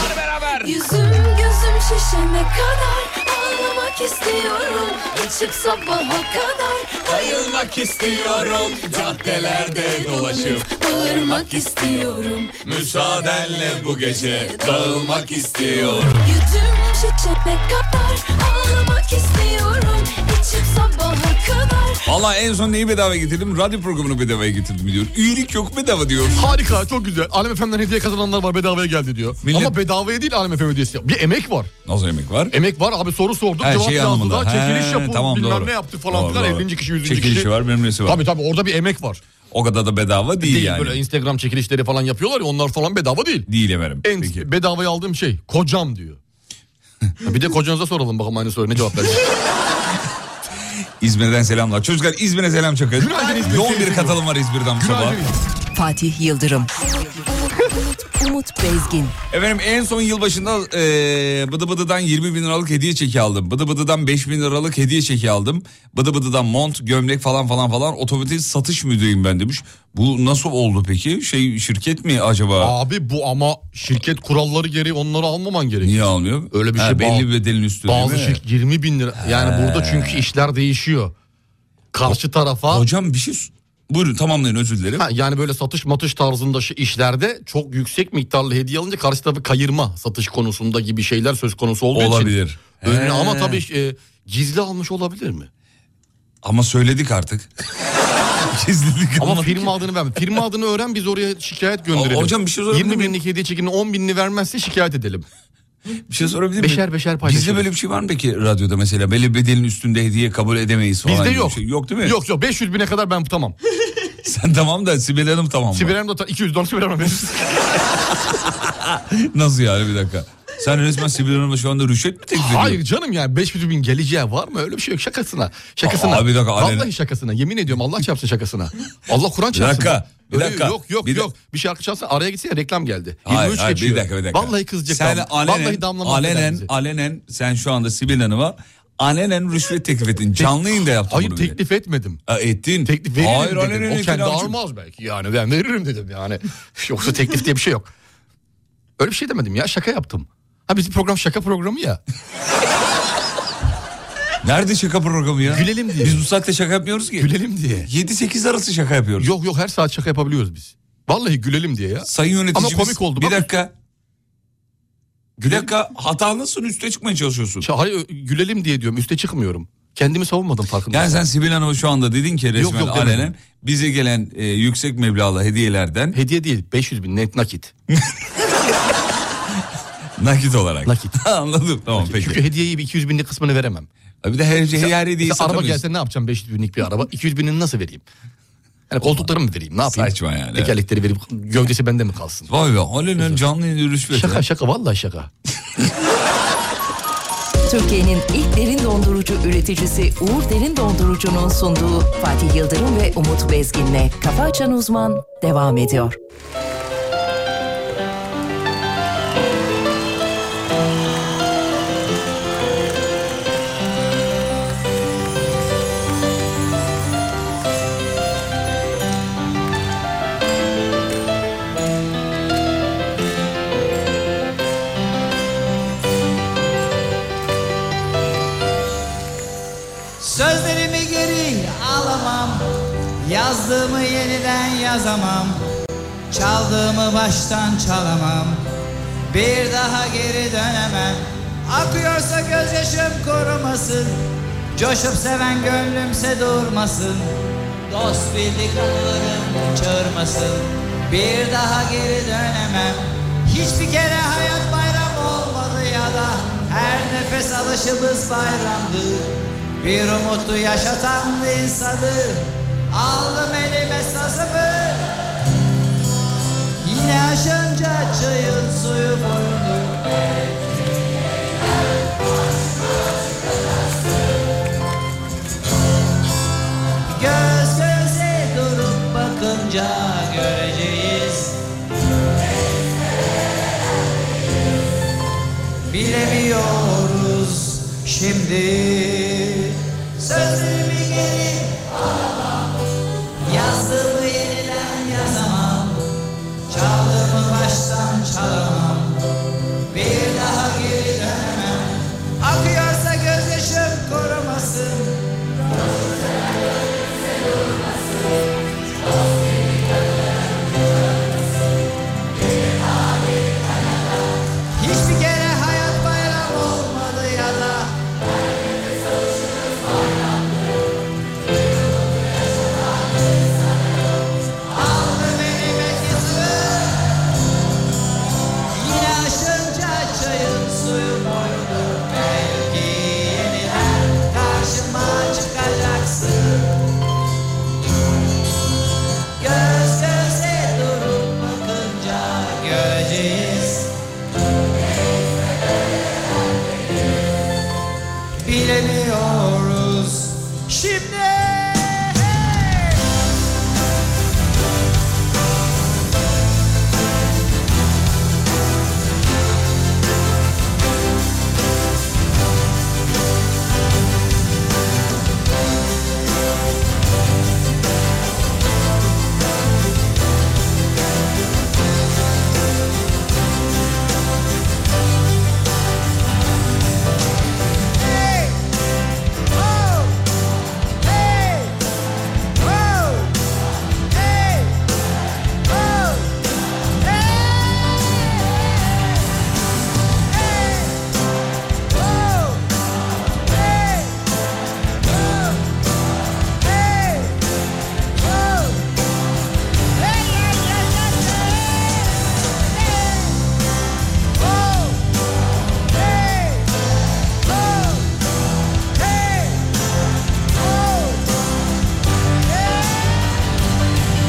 Hadi beraber.
Yüzüm gözüm şişene kadar Ağlamak istiyorum İçip sabaha kadar
Bayılmak istiyorum caddelerde dolaşıp
Bağırmak istiyorum
Müsaadenle bu gece dağılmak istiyorum
Yüzüm şişene kadar Ağlamak istiyorum İçip sabaha kadar
Valla en son neyi bedava getirdim? Radyo programını bedavaya getirdim diyor. Üyelik yok bedava diyor.
Harika çok güzel. Alem FM'den hediye kazananlar var bedavaya geldi diyor.
Millet-
Ama bedavaya değil Alem FM hediyesi. Bir emek var.
Nasıl yemek var?
Emek var abi soru sorduk
Her
cevap
şey
yazdı
anlamında.
da çekiliş
He,
yapıldı
tamam,
bilmem
doğru.
ne yaptı falan
Doğru,
filan
doğru.
50. kişi 100. kişi.
Çekilişi var, bilmem nesi var.
Tabii tabii orada bir emek var.
O kadar da bedava değil,
Değil
yani.
böyle Instagram çekilişleri falan yapıyorlar ya onlar falan bedava değil.
Değil efendim.
En
Peki. [LAUGHS]
bedavaya aldığım şey kocam diyor. Bir de kocanıza soralım bakalım aynı soruya ne cevap verecek.
İzmir'den selamlar. Çocuklar İzmir'e selam çakın.
Günaydın İzmir
Yoğun bir
sevgili
katılım var İzmir'den bu sabah.
Günaydın.
Fatih Yıldırım. Umut Bezgin.
Efendim en son yılbaşında e, Bıdı Bıdı'dan 20 bin liralık hediye çeki aldım. Bıdı Bıdı'dan 5 bin liralık hediye çeki aldım. Bıdı Bıdı'dan mont, gömlek falan falan falan otomotiv satış müdürüyüm ben demiş. Bu nasıl oldu peki? Şey şirket mi acaba?
Abi bu ama şirket kuralları gereği onları almaman gerekiyor.
Niye almıyor?
Öyle bir şey
belli
bağ-
bir bedelin üstü
Bazı
değil mi?
şirket 20 bin lira. Yani burada çünkü işler değişiyor. Karşı tarafa
Hocam bir şey... Buyurun tamamlayın özür dilerim.
Ha, yani böyle satış matış tarzında şi- işlerde çok yüksek miktarlı hediye alınca karşı tarafı kayırma satış konusunda gibi şeyler söz konusu olduğu için.
Olabilir.
Önüne-
He.
ama tabii e, gizli almış olabilir mi?
Ama söyledik artık. Gizledik
Ama
anladık.
firma adını verme. Firma adını öğren biz oraya şikayet gönderelim.
O- hocam bir şey sorabilir
20
miyim?
binlik hediye çekini 10 binini vermezse şikayet edelim.
Bir şey sorabilir miyim?
Beşer beşer paylaşırız.
Bizde böyle bir şey var mı peki radyoda mesela? Belli bedelin üstünde hediye kabul edemeyiz falan.
Bizde
gibi bir
yok.
şey. Yok değil mi?
Yok yok 500 bine kadar ben tamam.
[LAUGHS] Sen tamam da Sibel Hanım tamam mı?
Sibel Hanım da ta- 200 dolar Sibel Hanım verir. [LAUGHS]
Nasıl yani bir dakika? Sen resmen Sibel Hanım'a şu anda rüşvet mi teklif ediyorsun?
Hayır canım yani 500 bin geleceği var mı? Öyle bir şey yok şakasına. Şakasına.
Aa, bir dakika,
Vallahi
alenen-
şakasına. Yemin ediyorum Allah çarpsın şakasına. Allah Kur'an çarpsın.
dakika, bir
Öyle-
dakika,
Yok yok
bir
yok. Bir şarkı çalsın araya gitsin ya reklam geldi.
[LAUGHS] Hayır,
23
hayır,
geçiyor.
bir dakika bir dakika.
Vallahi kızacak.
Sen
adam.
alenen,
Vallahi damlamaz. eder
alenen,
bizi.
alenen sen şu anda Sibel Hanım'a alenen rüşvet teklif ettin. Canlı yayında yaptın
Hayır
bunu.
teklif etmedim.
Ha, ettin.
Teklif veririm
Hayır,
dedim.
alenen
o kendi
itirafçı.
almaz belki yani ben veririm dedim yani. [LAUGHS] Yoksa teklif diye bir şey yok. Öyle bir şey demedim ya şaka yaptım. Ha bizim program şaka programı ya.
[LAUGHS] Nerede şaka programı ya?
Gülelim diye.
Biz bu saatte şaka yapmıyoruz ki.
Gülelim diye.
7-8 arası şaka yapıyoruz.
Yok yok her saat şaka yapabiliyoruz biz. Vallahi gülelim diye ya.
Sayın yöneticimiz.
Ama komik oldu,
Bir
bak.
dakika. Bir dakika hatalısın üste çıkmaya çalışıyorsun.
Ç- Hayır gülelim diye diyorum üste çıkmıyorum. Kendimi savunmadım farkında.
Yani sen Sibel Hanım'a şu anda dedin ki resmen
yok demedim.
alenen bize gelen e, yüksek meblağlı hediyelerden
Hediye değil 500 bin net nakit.
[LAUGHS] nakit olarak. [LAUGHS]
Nakit.
Anladım tamam peki.
Çünkü hediyeyi bir 200 binlik kısmını veremem.
Bir de her şey her hediyeyi
Mesela araba
satamıyorsun.
gelse ne yapacağım 500 binlik bir araba? 200 binini nasıl vereyim? Yani koltuklarımı mı vereyim ne yapayım?
Saçma yani.
Tekerlekleri verip gövdesi bende mi kalsın?
Vay be alenen canlı yayında rüşvet. ya.
Şaka şaka vallahi şaka.
Türkiye'nin ilk derin dondurucu üreticisi Uğur Derin Dondurucu'nun sunduğu Fatih Yıldırım ve Umut Bezgin'le Kafa Açan Uzman devam ediyor.
Sözlerimi geri alamam Yazdığımı yeniden yazamam Çaldığımı baştan çalamam Bir daha geri dönemem Akıyorsa gözyaşım korumasın Coşup seven gönlümse durmasın Dost bildik anılarım çağırmasın Bir daha geri dönemem Hiçbir kere hayat bayram olmadı ya da Her nefes alışımız bayramdı bir umutu yaşatan insanı Aldım elime sazımı Yine aşınca çayın suyu boyundu Göz göze durup bakınca göreceğiz Bilemiyoruz şimdi Sözlerimi geri alamam Yazdığımı yeniden yazamam Çaldığımı baştan çalamam Bir daha geri dönemem Akıyorsa gözyaşım korumasın Hiçbir kere hayat bayram olmadı ya da
bilemiyoruz Şimdi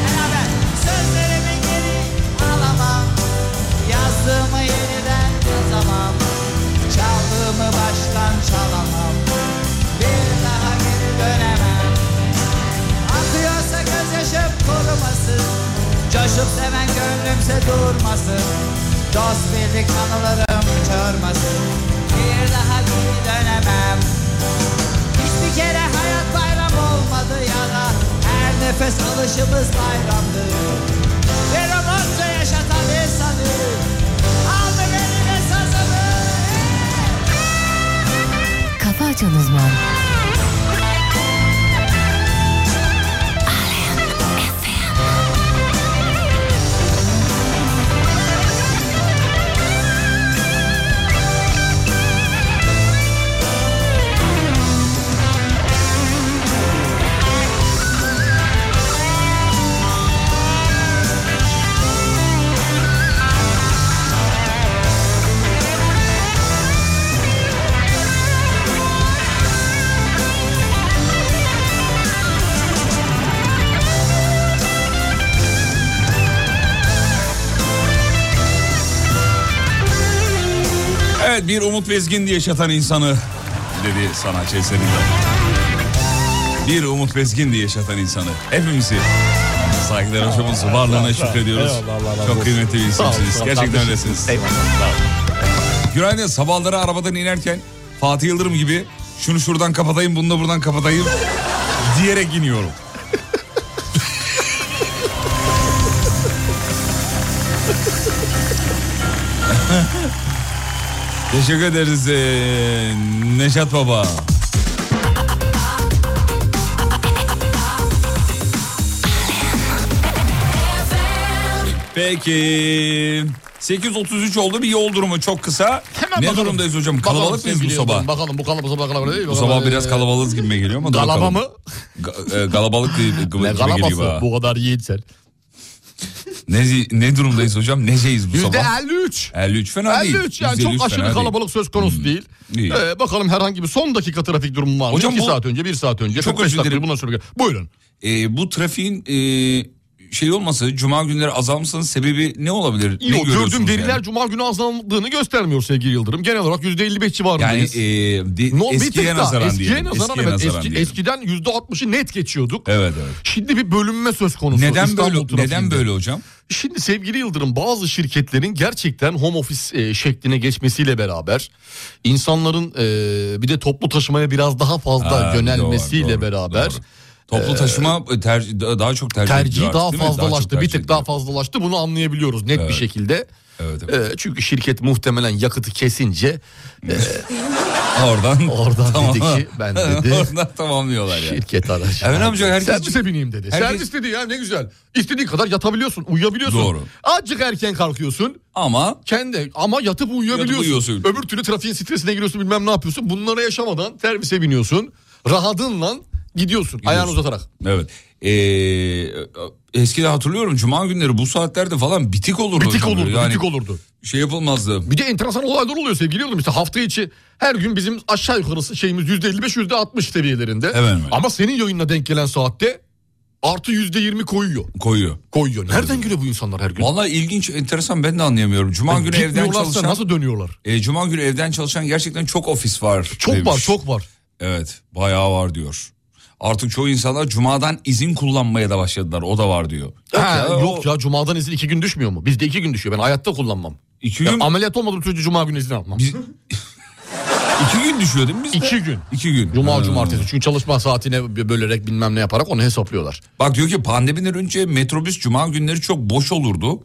Beraber sözlerimi geri alamam Yazdığımı yeniden yazamam Çaldığımı baştan çalamam Bir daha geri dönemem Akıyorsa gözyaşım kurumasın Coşup seven gönlümse durmasın Dost birlik anılarım çağırmasın Bir daha geri dönemem Hiçbir kere hayat bayram olmadı ya da Her nefes alışımız bayramdı Bir romansa
tá
yaşatan
né?
insanı
Ah,
Aldı benim esasımı
Kafa Açan Uzman.
Evet bir Umut Bezgin diye yaşatan insanı dedi sanatçı eserinde. Bir Umut Bezgin diye yaşatan insanı. Hepimizi saygılar hoşumuzu varlığına şükrediyoruz.
Eyvallah, Allah razı
Çok
olsun.
kıymetli bir
Sağ olun,
insansınız.
sağ olun,
Gerçekten
kardeşim.
öylesiniz.
Eyvallah.
Günaydın sabahları arabadan inerken Fatih Yıldırım gibi şunu şuradan kapatayım bunu da buradan kapatayım diyerek iniyorum. Teşekkür ederiz ee, Neşat Baba. Peki. 8.33 oldu bir yol durumu çok kısa.
Hemen
ne
bakalım.
durumdayız hocam?
Bakalım
Kalabalık mıyız bu
sevgili
sabah?
yıldırım, Bakalım bu kalabalık kalabalık değil.
Bu sabah biraz kalabalığız gibi geliyor ama dur
Galaba
bakalım.
mı?
Ga- e, galabalık değil gibi
Ne
gibi geliyor.
galabası
bana.
bu kadar yiğitsel.
Ne, ne durumdayız hocam? Neceyiz bu
Yüzde
sabah?
53.
53 fena değil.
53 yani
%53
çok aşırı
fena değil. Hmm,
kalabalık söz konusu değil.
iyi.
Ee, bakalım herhangi bir son dakika trafik durumu var mı?
Hocam
Hocam 2
bu-
saat önce, 1 saat önce,
Çok
çok
özür
45 dakika
dilerim.
bundan sonra. Buyurun.
Ee, bu trafiğin e, şey olması, cuma günleri azalmasının sebebi ne olabilir? ne
Yok, gördüğüm
görüyorsunuz
veriler
yani?
cuma günü azaldığını göstermiyor sevgili Yıldırım. Genel olarak %55
Yani
civarındayız. Yani,
e, de- eskiye nazaran
eskiye
diyelim.
nazaran,
eskiye
evet,
nazaran
eski-
diyelim.
eskiden %60'ı net geçiyorduk.
Evet evet.
Şimdi bir bölünme söz konusu.
Neden
İstanbul
böyle neden
trafiğinde.
böyle hocam?
Şimdi sevgili Yıldırım bazı şirketlerin gerçekten home office e, şekline geçmesiyle beraber insanların e, bir de toplu taşımaya biraz daha fazla
Ha,
yönelmesiyle
doğru, doğru,
beraber
doğru. Toplu taşıma e, ter- da- daha çok tercih ediliyor
tercihi
artık,
daha
değil mi? çok
fazlalaştı. bir
tercih
tık daha
ediliyor.
fazlalaştı. Bunu anlayabiliyoruz net bir şekilde.
Evet, evet.
E, çünkü şirket muhtemelen yakıtı kesince e,
[LAUGHS] Oradan, [LAUGHS]
Oradan dedi ki, ben dedi.
Oradan tamamlıyorlar yani.
şirket aracı.
Erhan amca herkes-
Servise bineyim dedi.
Herkes-
Servis dedi ya ne güzel. İstediğin kadar yatabiliyorsun, uyuyabiliyorsun.
Doğru.
Azıcık erken kalkıyorsun.
Ama
Kendi ama yatıp uyuyabiliyorsun.
Yatıp uyuyorsun.
Öbür türlü trafiğin stresine giriyorsun bilmem ne yapıyorsun. Bunları yaşamadan servise biniyorsun. Rahatınla gidiyorsun. Ayağını uzatarak.
evet. Ee, eskiden hatırlıyorum cuma günleri bu saatlerde falan bitik olurdu.
Bitik
hocam.
olurdu,
Yani
bitik olurdu.
Şey yapılmazdı.
Bir de enteresan olaylar oluyor sevgili yıldırım. İşte hafta içi her gün bizim aşağı yukarısı şeyimiz %55 %60 seviyelerinde.
Evet, evet.
Ama senin yayınına denk gelen saatte artı %20 koyuyor.
koyuyor.
Koyuyor. Nereden geliyor bu insanlar her gün?
Vallahi ilginç, enteresan ben de anlayamıyorum. Cuma günü evden
Gitmiyorlarsa
çalışan, Ee,
nasıl dönüyorlar?
e, cuma günü evden çalışan gerçekten çok ofis var.
Çok
demiş.
var çok var.
Evet bayağı var diyor. Artık çoğu insanlar cumadan izin kullanmaya da başladılar. O da var diyor.
Ha,
ya,
yok ya cumadan izin iki gün düşmüyor mu? Bizde iki gün düşüyor. Ben hayatta kullanmam.
İki
gün... ameliyat olmadığım sürece cuma günü izin
[LAUGHS]
almam.
iki gün düşüyor değil mi bizde?
İki gün.
İki gün.
Cuma
Ha.
cumartesi. Çünkü çalışma saatine bölerek bilmem ne yaparak onu hesaplıyorlar.
Bak diyor ki pandemiden önce metrobüs cuma günleri çok boş olurdu.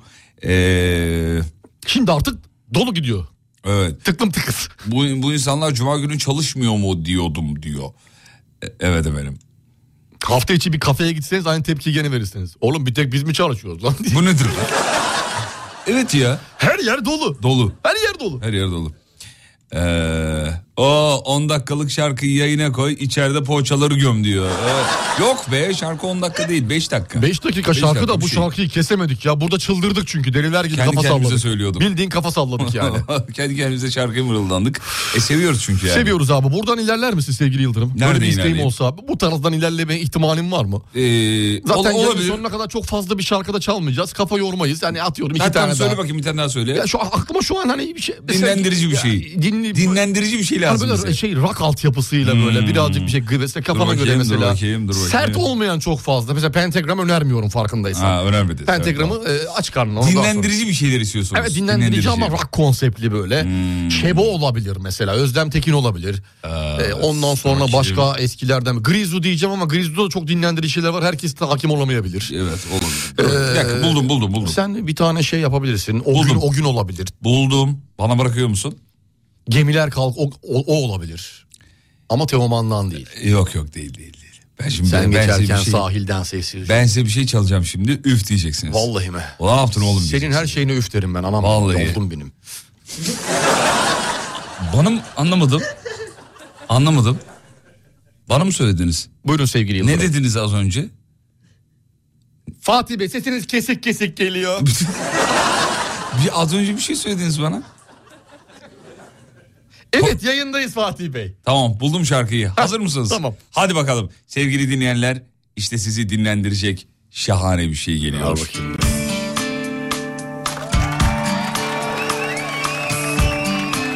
Ee,
Şimdi artık dolu gidiyor.
Evet.
Tıklım tıkıs.
Bu, bu insanlar cuma günü çalışmıyor mu diyordum diyor. E, Evet efendim.
Hafta içi bir kafeye gitseniz aynı tepkiyi gene verirsiniz. Oğlum bir tek biz mi çalışıyoruz lan?
Bu nedir lan? Evet ya.
Her yer dolu.
Dolu.
Her yer dolu.
Her yer dolu. Ee, o 10 dakikalık şarkıyı yayına koy içeride poğaçaları göm diyor. Evet. Yok be şarkı 10 dakika değil 5 dakika.
5 dakika
Beş
şarkı da
bir
bu
şey.
şarkıyı kesemedik ya. Burada çıldırdık çünkü deliler gibi
Kendi
kafa
kendimize
salladık.
söylüyordum.
Bildiğin kafa salladık yani.
[LAUGHS] Kendi kendimize şarkıya mırıldandık. E seviyoruz çünkü yani.
Seviyoruz abi. Buradan ilerler misin sevgili Yıldırım?
Nerede
Böyle bir isteğim
ilerleyeyim?
olsa abi. Bu tarzdan ilerleme ihtimalim var mı?
Ee,
Zaten
ol-
yayının
olabilir.
sonuna kadar çok fazla bir şarkıda çalmayacağız. Kafa yormayız. Yani atıyorum iki
Ha, tamam,
tane
söyle
daha.
bakayım bir tane daha söyle.
Ya şu aklıma şu an hani bir şey...
Dinlendirici bir
Ya,
şey.
Dinli...
Dinlendirici bir şey
Hani
lazım
böyle
bize.
şey rock altyapısıyla böyle birazcık bir şey gıbesine kafana
bakayım,
göre
dur
mesela.
bakayım, dur bakayım.
Sert olmayan çok fazla. Mesela pentagram önermiyorum farkındaysan.
Ha, önermedi.
Pentagramı e, aç karnına. ondan sonra.
Dinlendirici bir Hmm. şeyler istiyorsunuz.
Evet dinlendirici, ama rock konseptli böyle. Şebo olabilir mesela. Özlem Tekin olabilir. Ee, ondan sonra
sakin.
başka eskilerden. Grizu diyeceğim ama Grizu'da da çok dinlendirici şeyler var. Herkes de hakim olamayabilir. Ee,
Evet olabilir. Dur, bir dakika buldum buldum buldum.
Sen bir tane şey yapabilirsin. O gün
Buldum.
o gün olabilir.
Buldum. Bana bırakıyor musun?
Gemiler kalk o, o, o olabilir. Ama Teoman'dan değil.
Yok yok değil değil değil. Ben şimdi
Sen
ben, ben size
geçerken
bir şey,
sahilden sessiz.
ben size bir şey çalacağım şimdi üf diyeceksiniz.
Vallahi mi?
Ne yaptın oğlum?
Senin her şeyine üf derim ben anam.
Vallahi.
Oldum benim.
Bana mı anlamadım? Anlamadım. Bana mı söylediniz?
Buyurun sevgili Yıldırım.
Ne dediniz az önce?
Fatih Bey sesiniz kesik kesik geliyor.
[LAUGHS] Bir az önce bir şey söylediniz bana.
evet yayındayız Fatih Bey.
Tamam buldum şarkıyı. Hazır mısınız?
tamam.
Hadi bakalım. Sevgili dinleyenler işte sizi dinlendirecek şahane bir şey geliyor.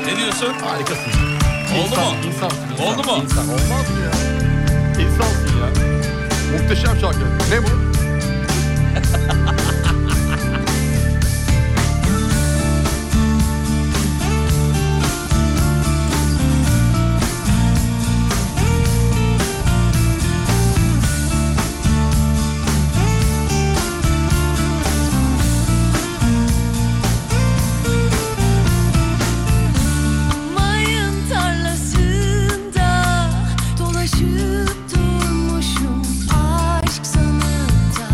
Ne diyorsun?
Harikasın.
Oldu mu?
İnsansın.
Oldu
insan,
mu?
İnsan olmaz mı ya? İnsansın ya. Muhteşem şarkı. Ne bu?
[LAUGHS]
Mayın tarlasında dolaşıp durmuşum aşk sanında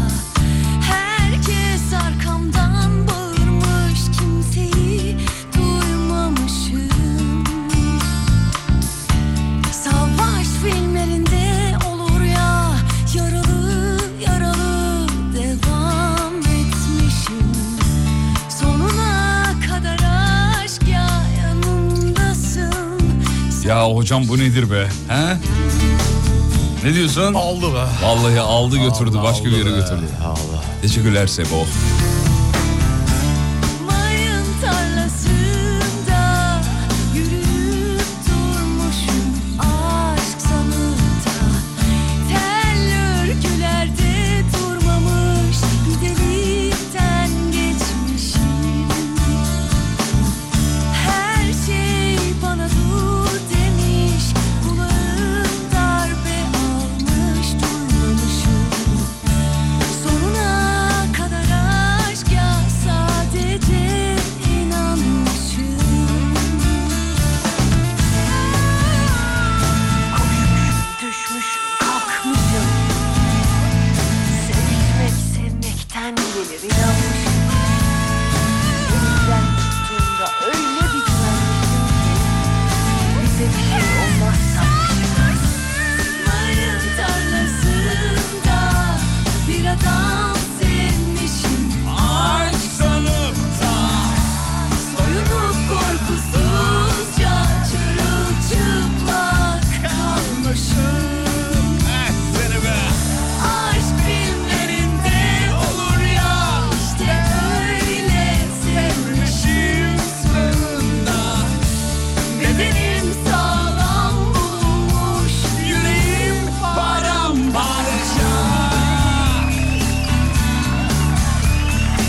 Herkes arkamdan bağırmış kimseyi duymamışım Savaş filmlerinde olur ya yaralı yaralı devam etmişim Sonuna kadar aşk ya yanımdasın
Ya hocam bu nedir be? He? Ne diyorsun?
Aldı be.
Vallahi aldı götürdü başka bir yere götürdü.
Allah.
Teşekkürler Sebo.
Mayın tarlasında yürüyüp durmuşum aşk sanında Tel örgülerde durmamış bir delikten geçmişim Her şey bana dur demiş kulağım darbe almış duymamışım Sonuna kadar aşk şey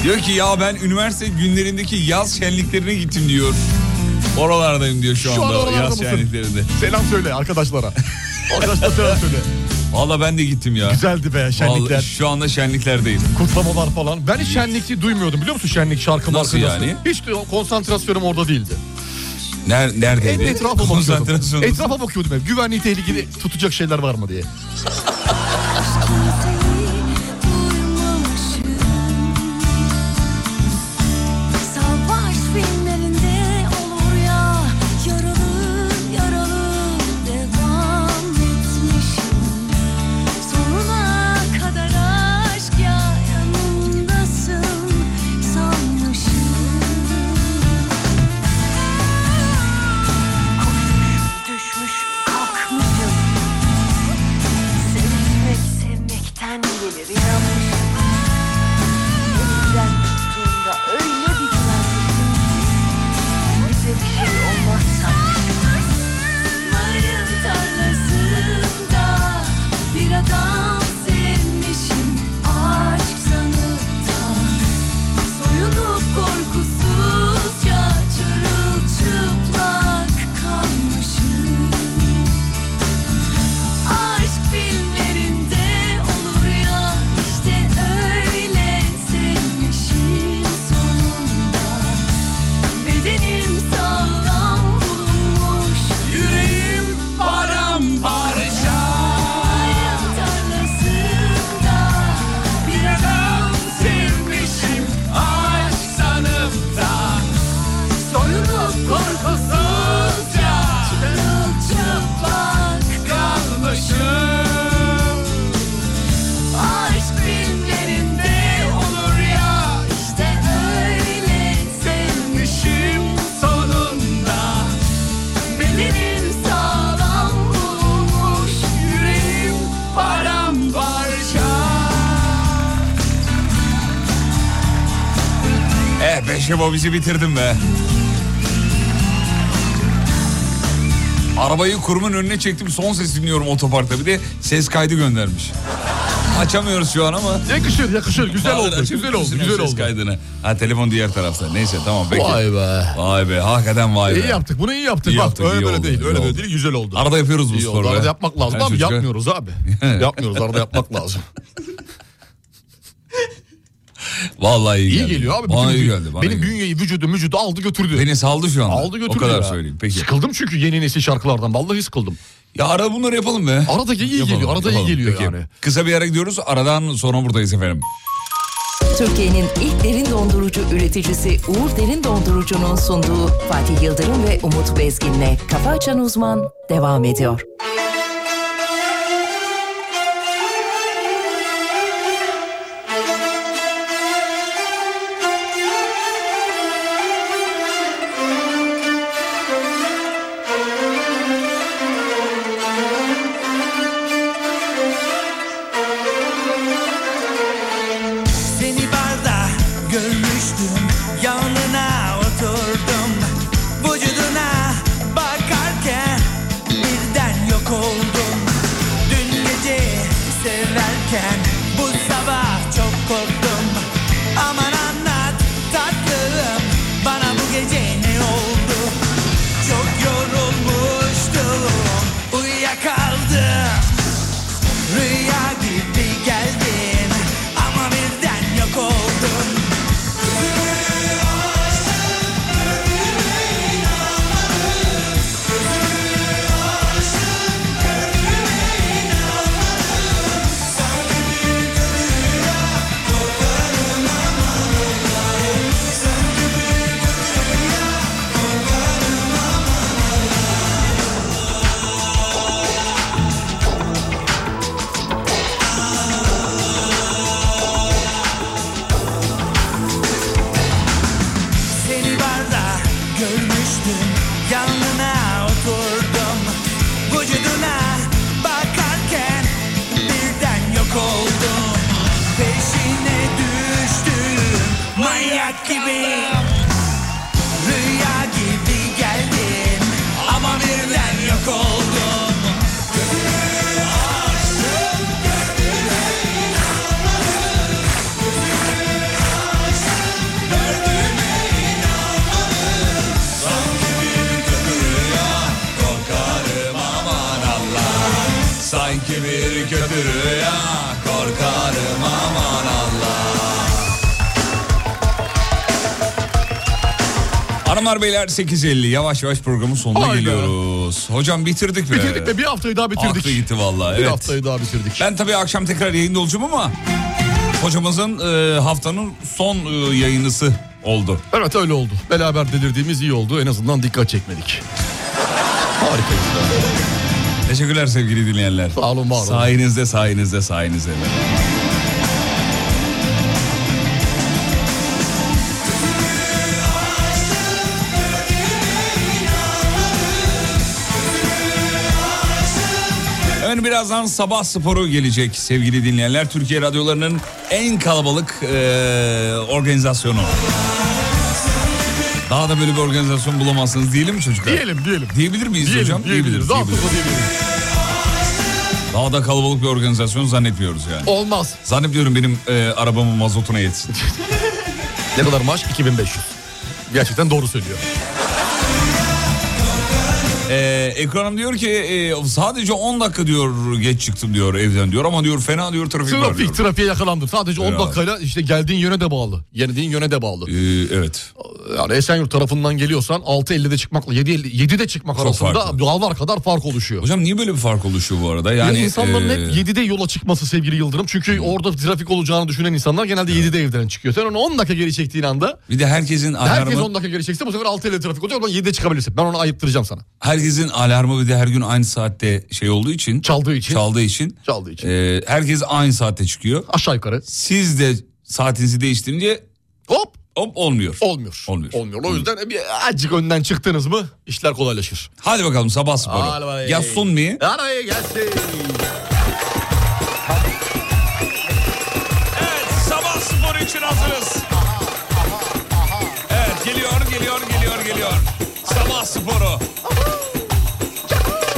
Diyor ki ya ben üniversite günlerindeki yaz şenliklerine gittim diyor. Oralardayım diyor şu,
Şu an
anda
oralarda
yaz
mısın?
şenliklerinde.
Selam söyle arkadaşlara. Arkadaşlar selam
[LAUGHS]
söyle.
Valla ben de gittim ya.
Güzeldi be şenlikler.
Vallahi şu anda şenliklerdeyim.
Kutlamalar falan. Ben hiç şenlikli duymuyordum biliyor musun şenlik şarkı
Nasıl
markası.
yani?
Hiç de- konsantrasyonum orada değildi.
Ner-
Hep
neredeydi?
etrafa bakıyordum.
Konsantrasyonum.
Etrafa bakıyordum hep. Güvenliği tehlikeli tutacak şeyler var mı diye.
Kimseyi duymamışım Savaş filmlerinde olur ya Yaralı yaralı devam etmişim Sonuna kadar aşk ya yanımdasın sanmışım Düşmüş kalkmışım Sevmek sevmekten gelir inanmışım Elimden tuttuğunda öyle bir güvenmişim ki Bize bir şey olmaz sanmışım Mayın tarlasında bir adam sevmişim Aşk sanıp da Soyunup korkusuzca çırılçıplak kalmışım Aşk filmlerinde olur ya işte öyle sevmişim sonunda Bedenim sağlam bulunmuş Yüreğim paramparça Hayat tarlasında bir adam sevmişim Aşk sanıp da Soyunup korkusuzca Çırılçıplak kalmışım Aşk filmlerinde olur ya işte öyle sevmişim sonunda Bedenim sağlam bulmuş Yüreğim paramparça
Eh be Şebo bizi bitirdin be. Arabayı kurumun önüne çektim son ses dinliyorum otoparkta bir de ses kaydı göndermiş. Açamıyoruz şu an ama.
Yakışır yakışır güzel
Bahadır,
oldu
açabilir
güzel oldu
misin o
güzel
ses
oldu.
kaydını. Ha telefon diğer tarafta neyse tamam peki.
Vay be.
Vay be hakikaten vay be.
İyi yaptık bunu iyi yaptık.
İyi
Bak
yaptık, iyi
öyle böyle
oldu,
değil
iyi
öyle böyle
oldu.
değil güzel oldu.
Arada yapıyoruz bu
İyi oldu,
sporu.
arada
be.
yapmak lazım
Her
abi
çocuk- [LAUGHS]
yapmıyoruz abi. yapmıyoruz arada yapmak lazım.
Vallahi iyi,
İyi
geldi.
geliyor abi.
Bana
bütün
iyi
gün-
geldi. Bana iyi
benim
geldi.
bünyeyi vücudu vücudu aldı götürdü.
Beni saldı şu anda.
Aldı götürdü
O kadar
ya.
söyleyeyim. Peki.
Sıkıldım çünkü yeni nesil şarkılardan. Vallahi sıkıldım.
Ya arada bunları yapalım be.
Aradaki iyi
Yapalım,
geliyor. Arada
yapalım.
iyi geliyor
Peki.
yani.
Kısa bir yere gidiyoruz. Aradan sonra buradayız efendim.
Türkiye'nin ilk derin dondurucu üreticisi Uğur Derin Dondurucu'nun sunduğu Fatih Yıldırım ve Umut Bezgin'le Kafa Açan Uzman devam ediyor.
Seni barda görmüştüm Yanına oturdum Vücuduna bakarken Birden yok
Sanki bir kötü rüya Korkarım aman Allah
Hanımlar beyler 8.50 yayavaş yavaş programın sonuna
Hayda.
geliyoruz. Hocam bitirdik mi?
Bitirdik be bir haftayı daha bitirdik.
Aklı gitti vallahi.
Bir
evet.
haftayı daha bitirdik.
Ben tabii akşam tekrar yayında olacağım ama hocamızın e, haftanın son e, yayınısı oldu.
Evet öyle oldu. Beraber delirdiğimiz iyi oldu. En azından dikkat çekmedik. Harikayız.
Teşekkürler sevgili dinleyenler. Sağ
olun var olun.
Sayenizde sayenizde sayenizde. Hemen birazdan sabah sporu gelecek sevgili dinleyenler. Türkiye radyolarının en kalabalık e, organizasyonu. Daha da böyle bir organizasyon bulamazsınız diyelim mi çocuklar?
Diyelim diyelim.
Diyebilir miyiz
Diyelim,
hocam?
diyebiliriz. Daha fazla diyebiliriz.
Daha da kalabalık bir organizasyon zannetmiyoruz yani.
Olmaz.
Zannediyorum benim e, arabamın mazotuna yetsin.
[LAUGHS] Ne kadar maaş? 2500. Gerçekten doğru söylüyor.
E, ekranım diyor ki e, sadece 10 dakika diyor geç çıktım diyor evden diyor ama diyor fena diyor trafik var diyor.
Trafik trafiğe yakalandım. Sadece 10
Eyvallah.
dakikayla işte geldiğin yöne de bağlı. Geldiğin yöne de bağlı.
E, evet.
Yani Esenyurt tarafından geliyorsan 6.50'de çıkmakla 7.50 7'de çıkmak
Çok
arasında
farklı.
dağlar kadar fark oluşuyor.
Hocam niye böyle bir fark oluşuyor bu arada? Yani
ya insanların
e, Hmm.
hep 7'de yola çıkması sevgili Yıldırım. Çünkü orada trafik olacağını düşünen insanlar genelde 7'de evden çıkıyor. Sen onu 10 dakika geri çektiğin anda
bir de herkesin
herkes
alarmı
10 dakika geri çekse bu sefer 6.50'de trafik olacak. O zaman 7'de çıkabilirsin. Ben onu ayıptıracağım sana.
herkesin alarmı bir de her gün aynı saatte şey olduğu için
Çaldığı için.
çaldığı için
çaldığı için.
e, herkes aynı saatte çıkıyor.
Aşağı yukarı.
Siz de saatinizi değiştirince
Hop
hop olmuyor.
olmuyor.
Olmuyor.
O yüzden bir azıcık önden çıktınız mı işler kolaylaşır.
Hadi bakalım sabah
Hadi
sporu.
bakalım.
Yasun mi?
Araya gelsin.
Evet sabah sporu için hazırız. Evet geliyor geliyor geliyor geliyor. Sabah sporu.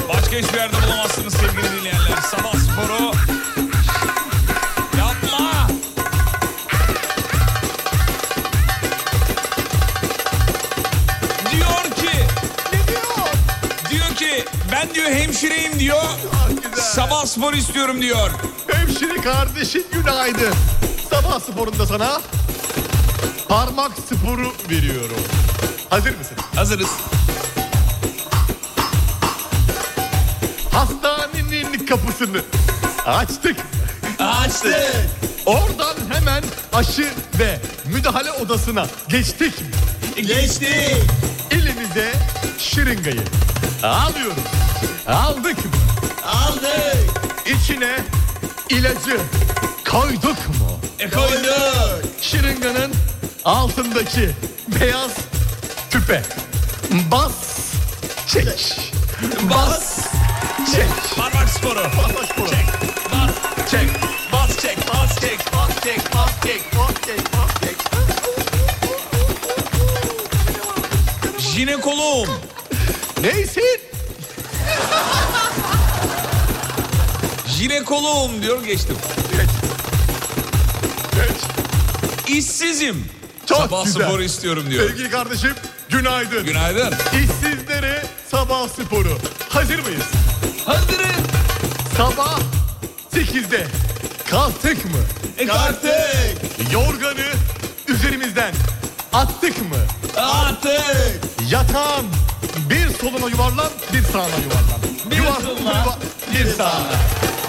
Başka hiçbir yerde bulamazsınız sevgili dinleyenler. Sabah sporu. Yapma. Diyor ki. Diyor ki ben diyor hemşireyim diyor. Sabah sporu istiyorum diyor.
Hemşire kardeşim günaydın. Sabah sporunda sana parmak sporu veriyorum. Hazır mısın?
Hazırız.
Hastanenin kapısını açtık.
Açtı.
Oradan hemen aşı ve müdahale odasına geçtik.
Geçti.
Elimize şırıngayı [LAUGHS] alıyoruz. Aldık mı?
Aldık
İçine ilacı koyduk mu?
E koydu.
Şırınganın altındaki beyaz tüpe bas çek. Bas çek.
Parmak sporu.
Bas sporu. Çek. Bas çek.
Bas çek, bas çek, bas çek, bas çek, bas çek, bas çek. Jinekoloğum.
Neysin?
Jinekoloğum diyor geçtim.
Geç.
İşsizim.
Çok
Sabah
güzel.
sporu istiyorum diyor.
Sevgili kardeşim günaydın.
Günaydın.
İşsizlere sabah sporu. Hazır mıyız?
Hazırız.
Sabah 8'de kalktık mı?
E kalktı.
Yorganı üzerimizden attık mı?
Artık.
Yatağın bir soluna yuvarlan, bir sağına yuvarlan.
Bir
Yuvarlan,
soluna,
yuva- bir sağına.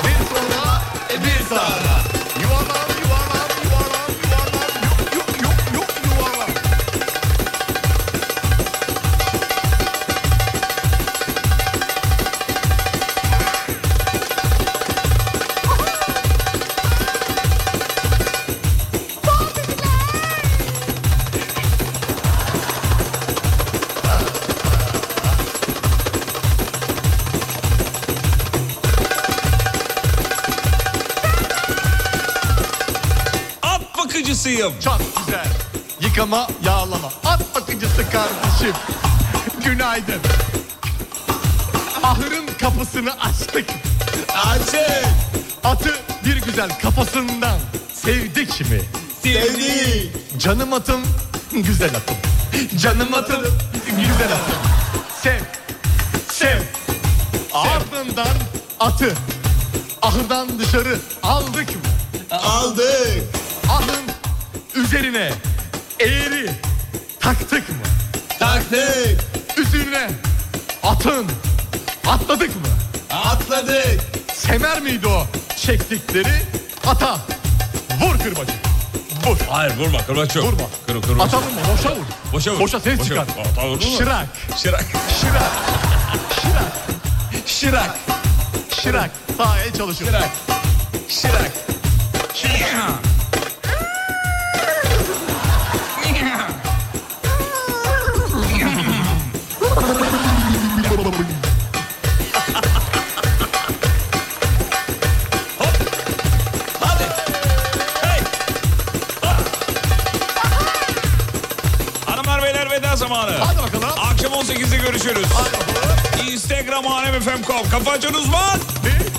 Bir soluna, e, bir sağına. Yuvarlan, yuvarlan, yuvarlan, yuvarlan, yuk, yuk, yuk, yuk, yuvarlan.
At bakıcısıyım.
Çok güzel. Yıkama, yağlama. At bakıcısı kardeşim. Günaydın. Ahırın kapısını açtık.
Açık
Atı bir güzel kafasından sevdik mi?
Sevdik
Canım atım, güzel atım. Canım atım, güzel atım. Sev, sev. Ardından atı ahırdan dışarı aldık mı? Aldık. Ahın üzerine eğri taktık mı? Taktık. Üzerine atın atladık mı? Atladık. Semer miydi o çektikleri? Ata vur kırbacı. Vur.
Hayır vurma kırbaç yok. Vurma. Kır, kırbaç
Ata
yok.
vurma boşa vur.
Boşa vur.
Boşa ses
Boşa
çıkar.
vur. Ata vurur mu?
Şırak.
Şırak.
Şırak. Şırak. Sağ el çalışıyor. Şırak. Şırak.
Hanımlar beyler veda zamanı.
Hadi bakalım.
Akşam 18'de görüşürüz. Instagram alemfm.com. Kafa açan uzman.
Bir.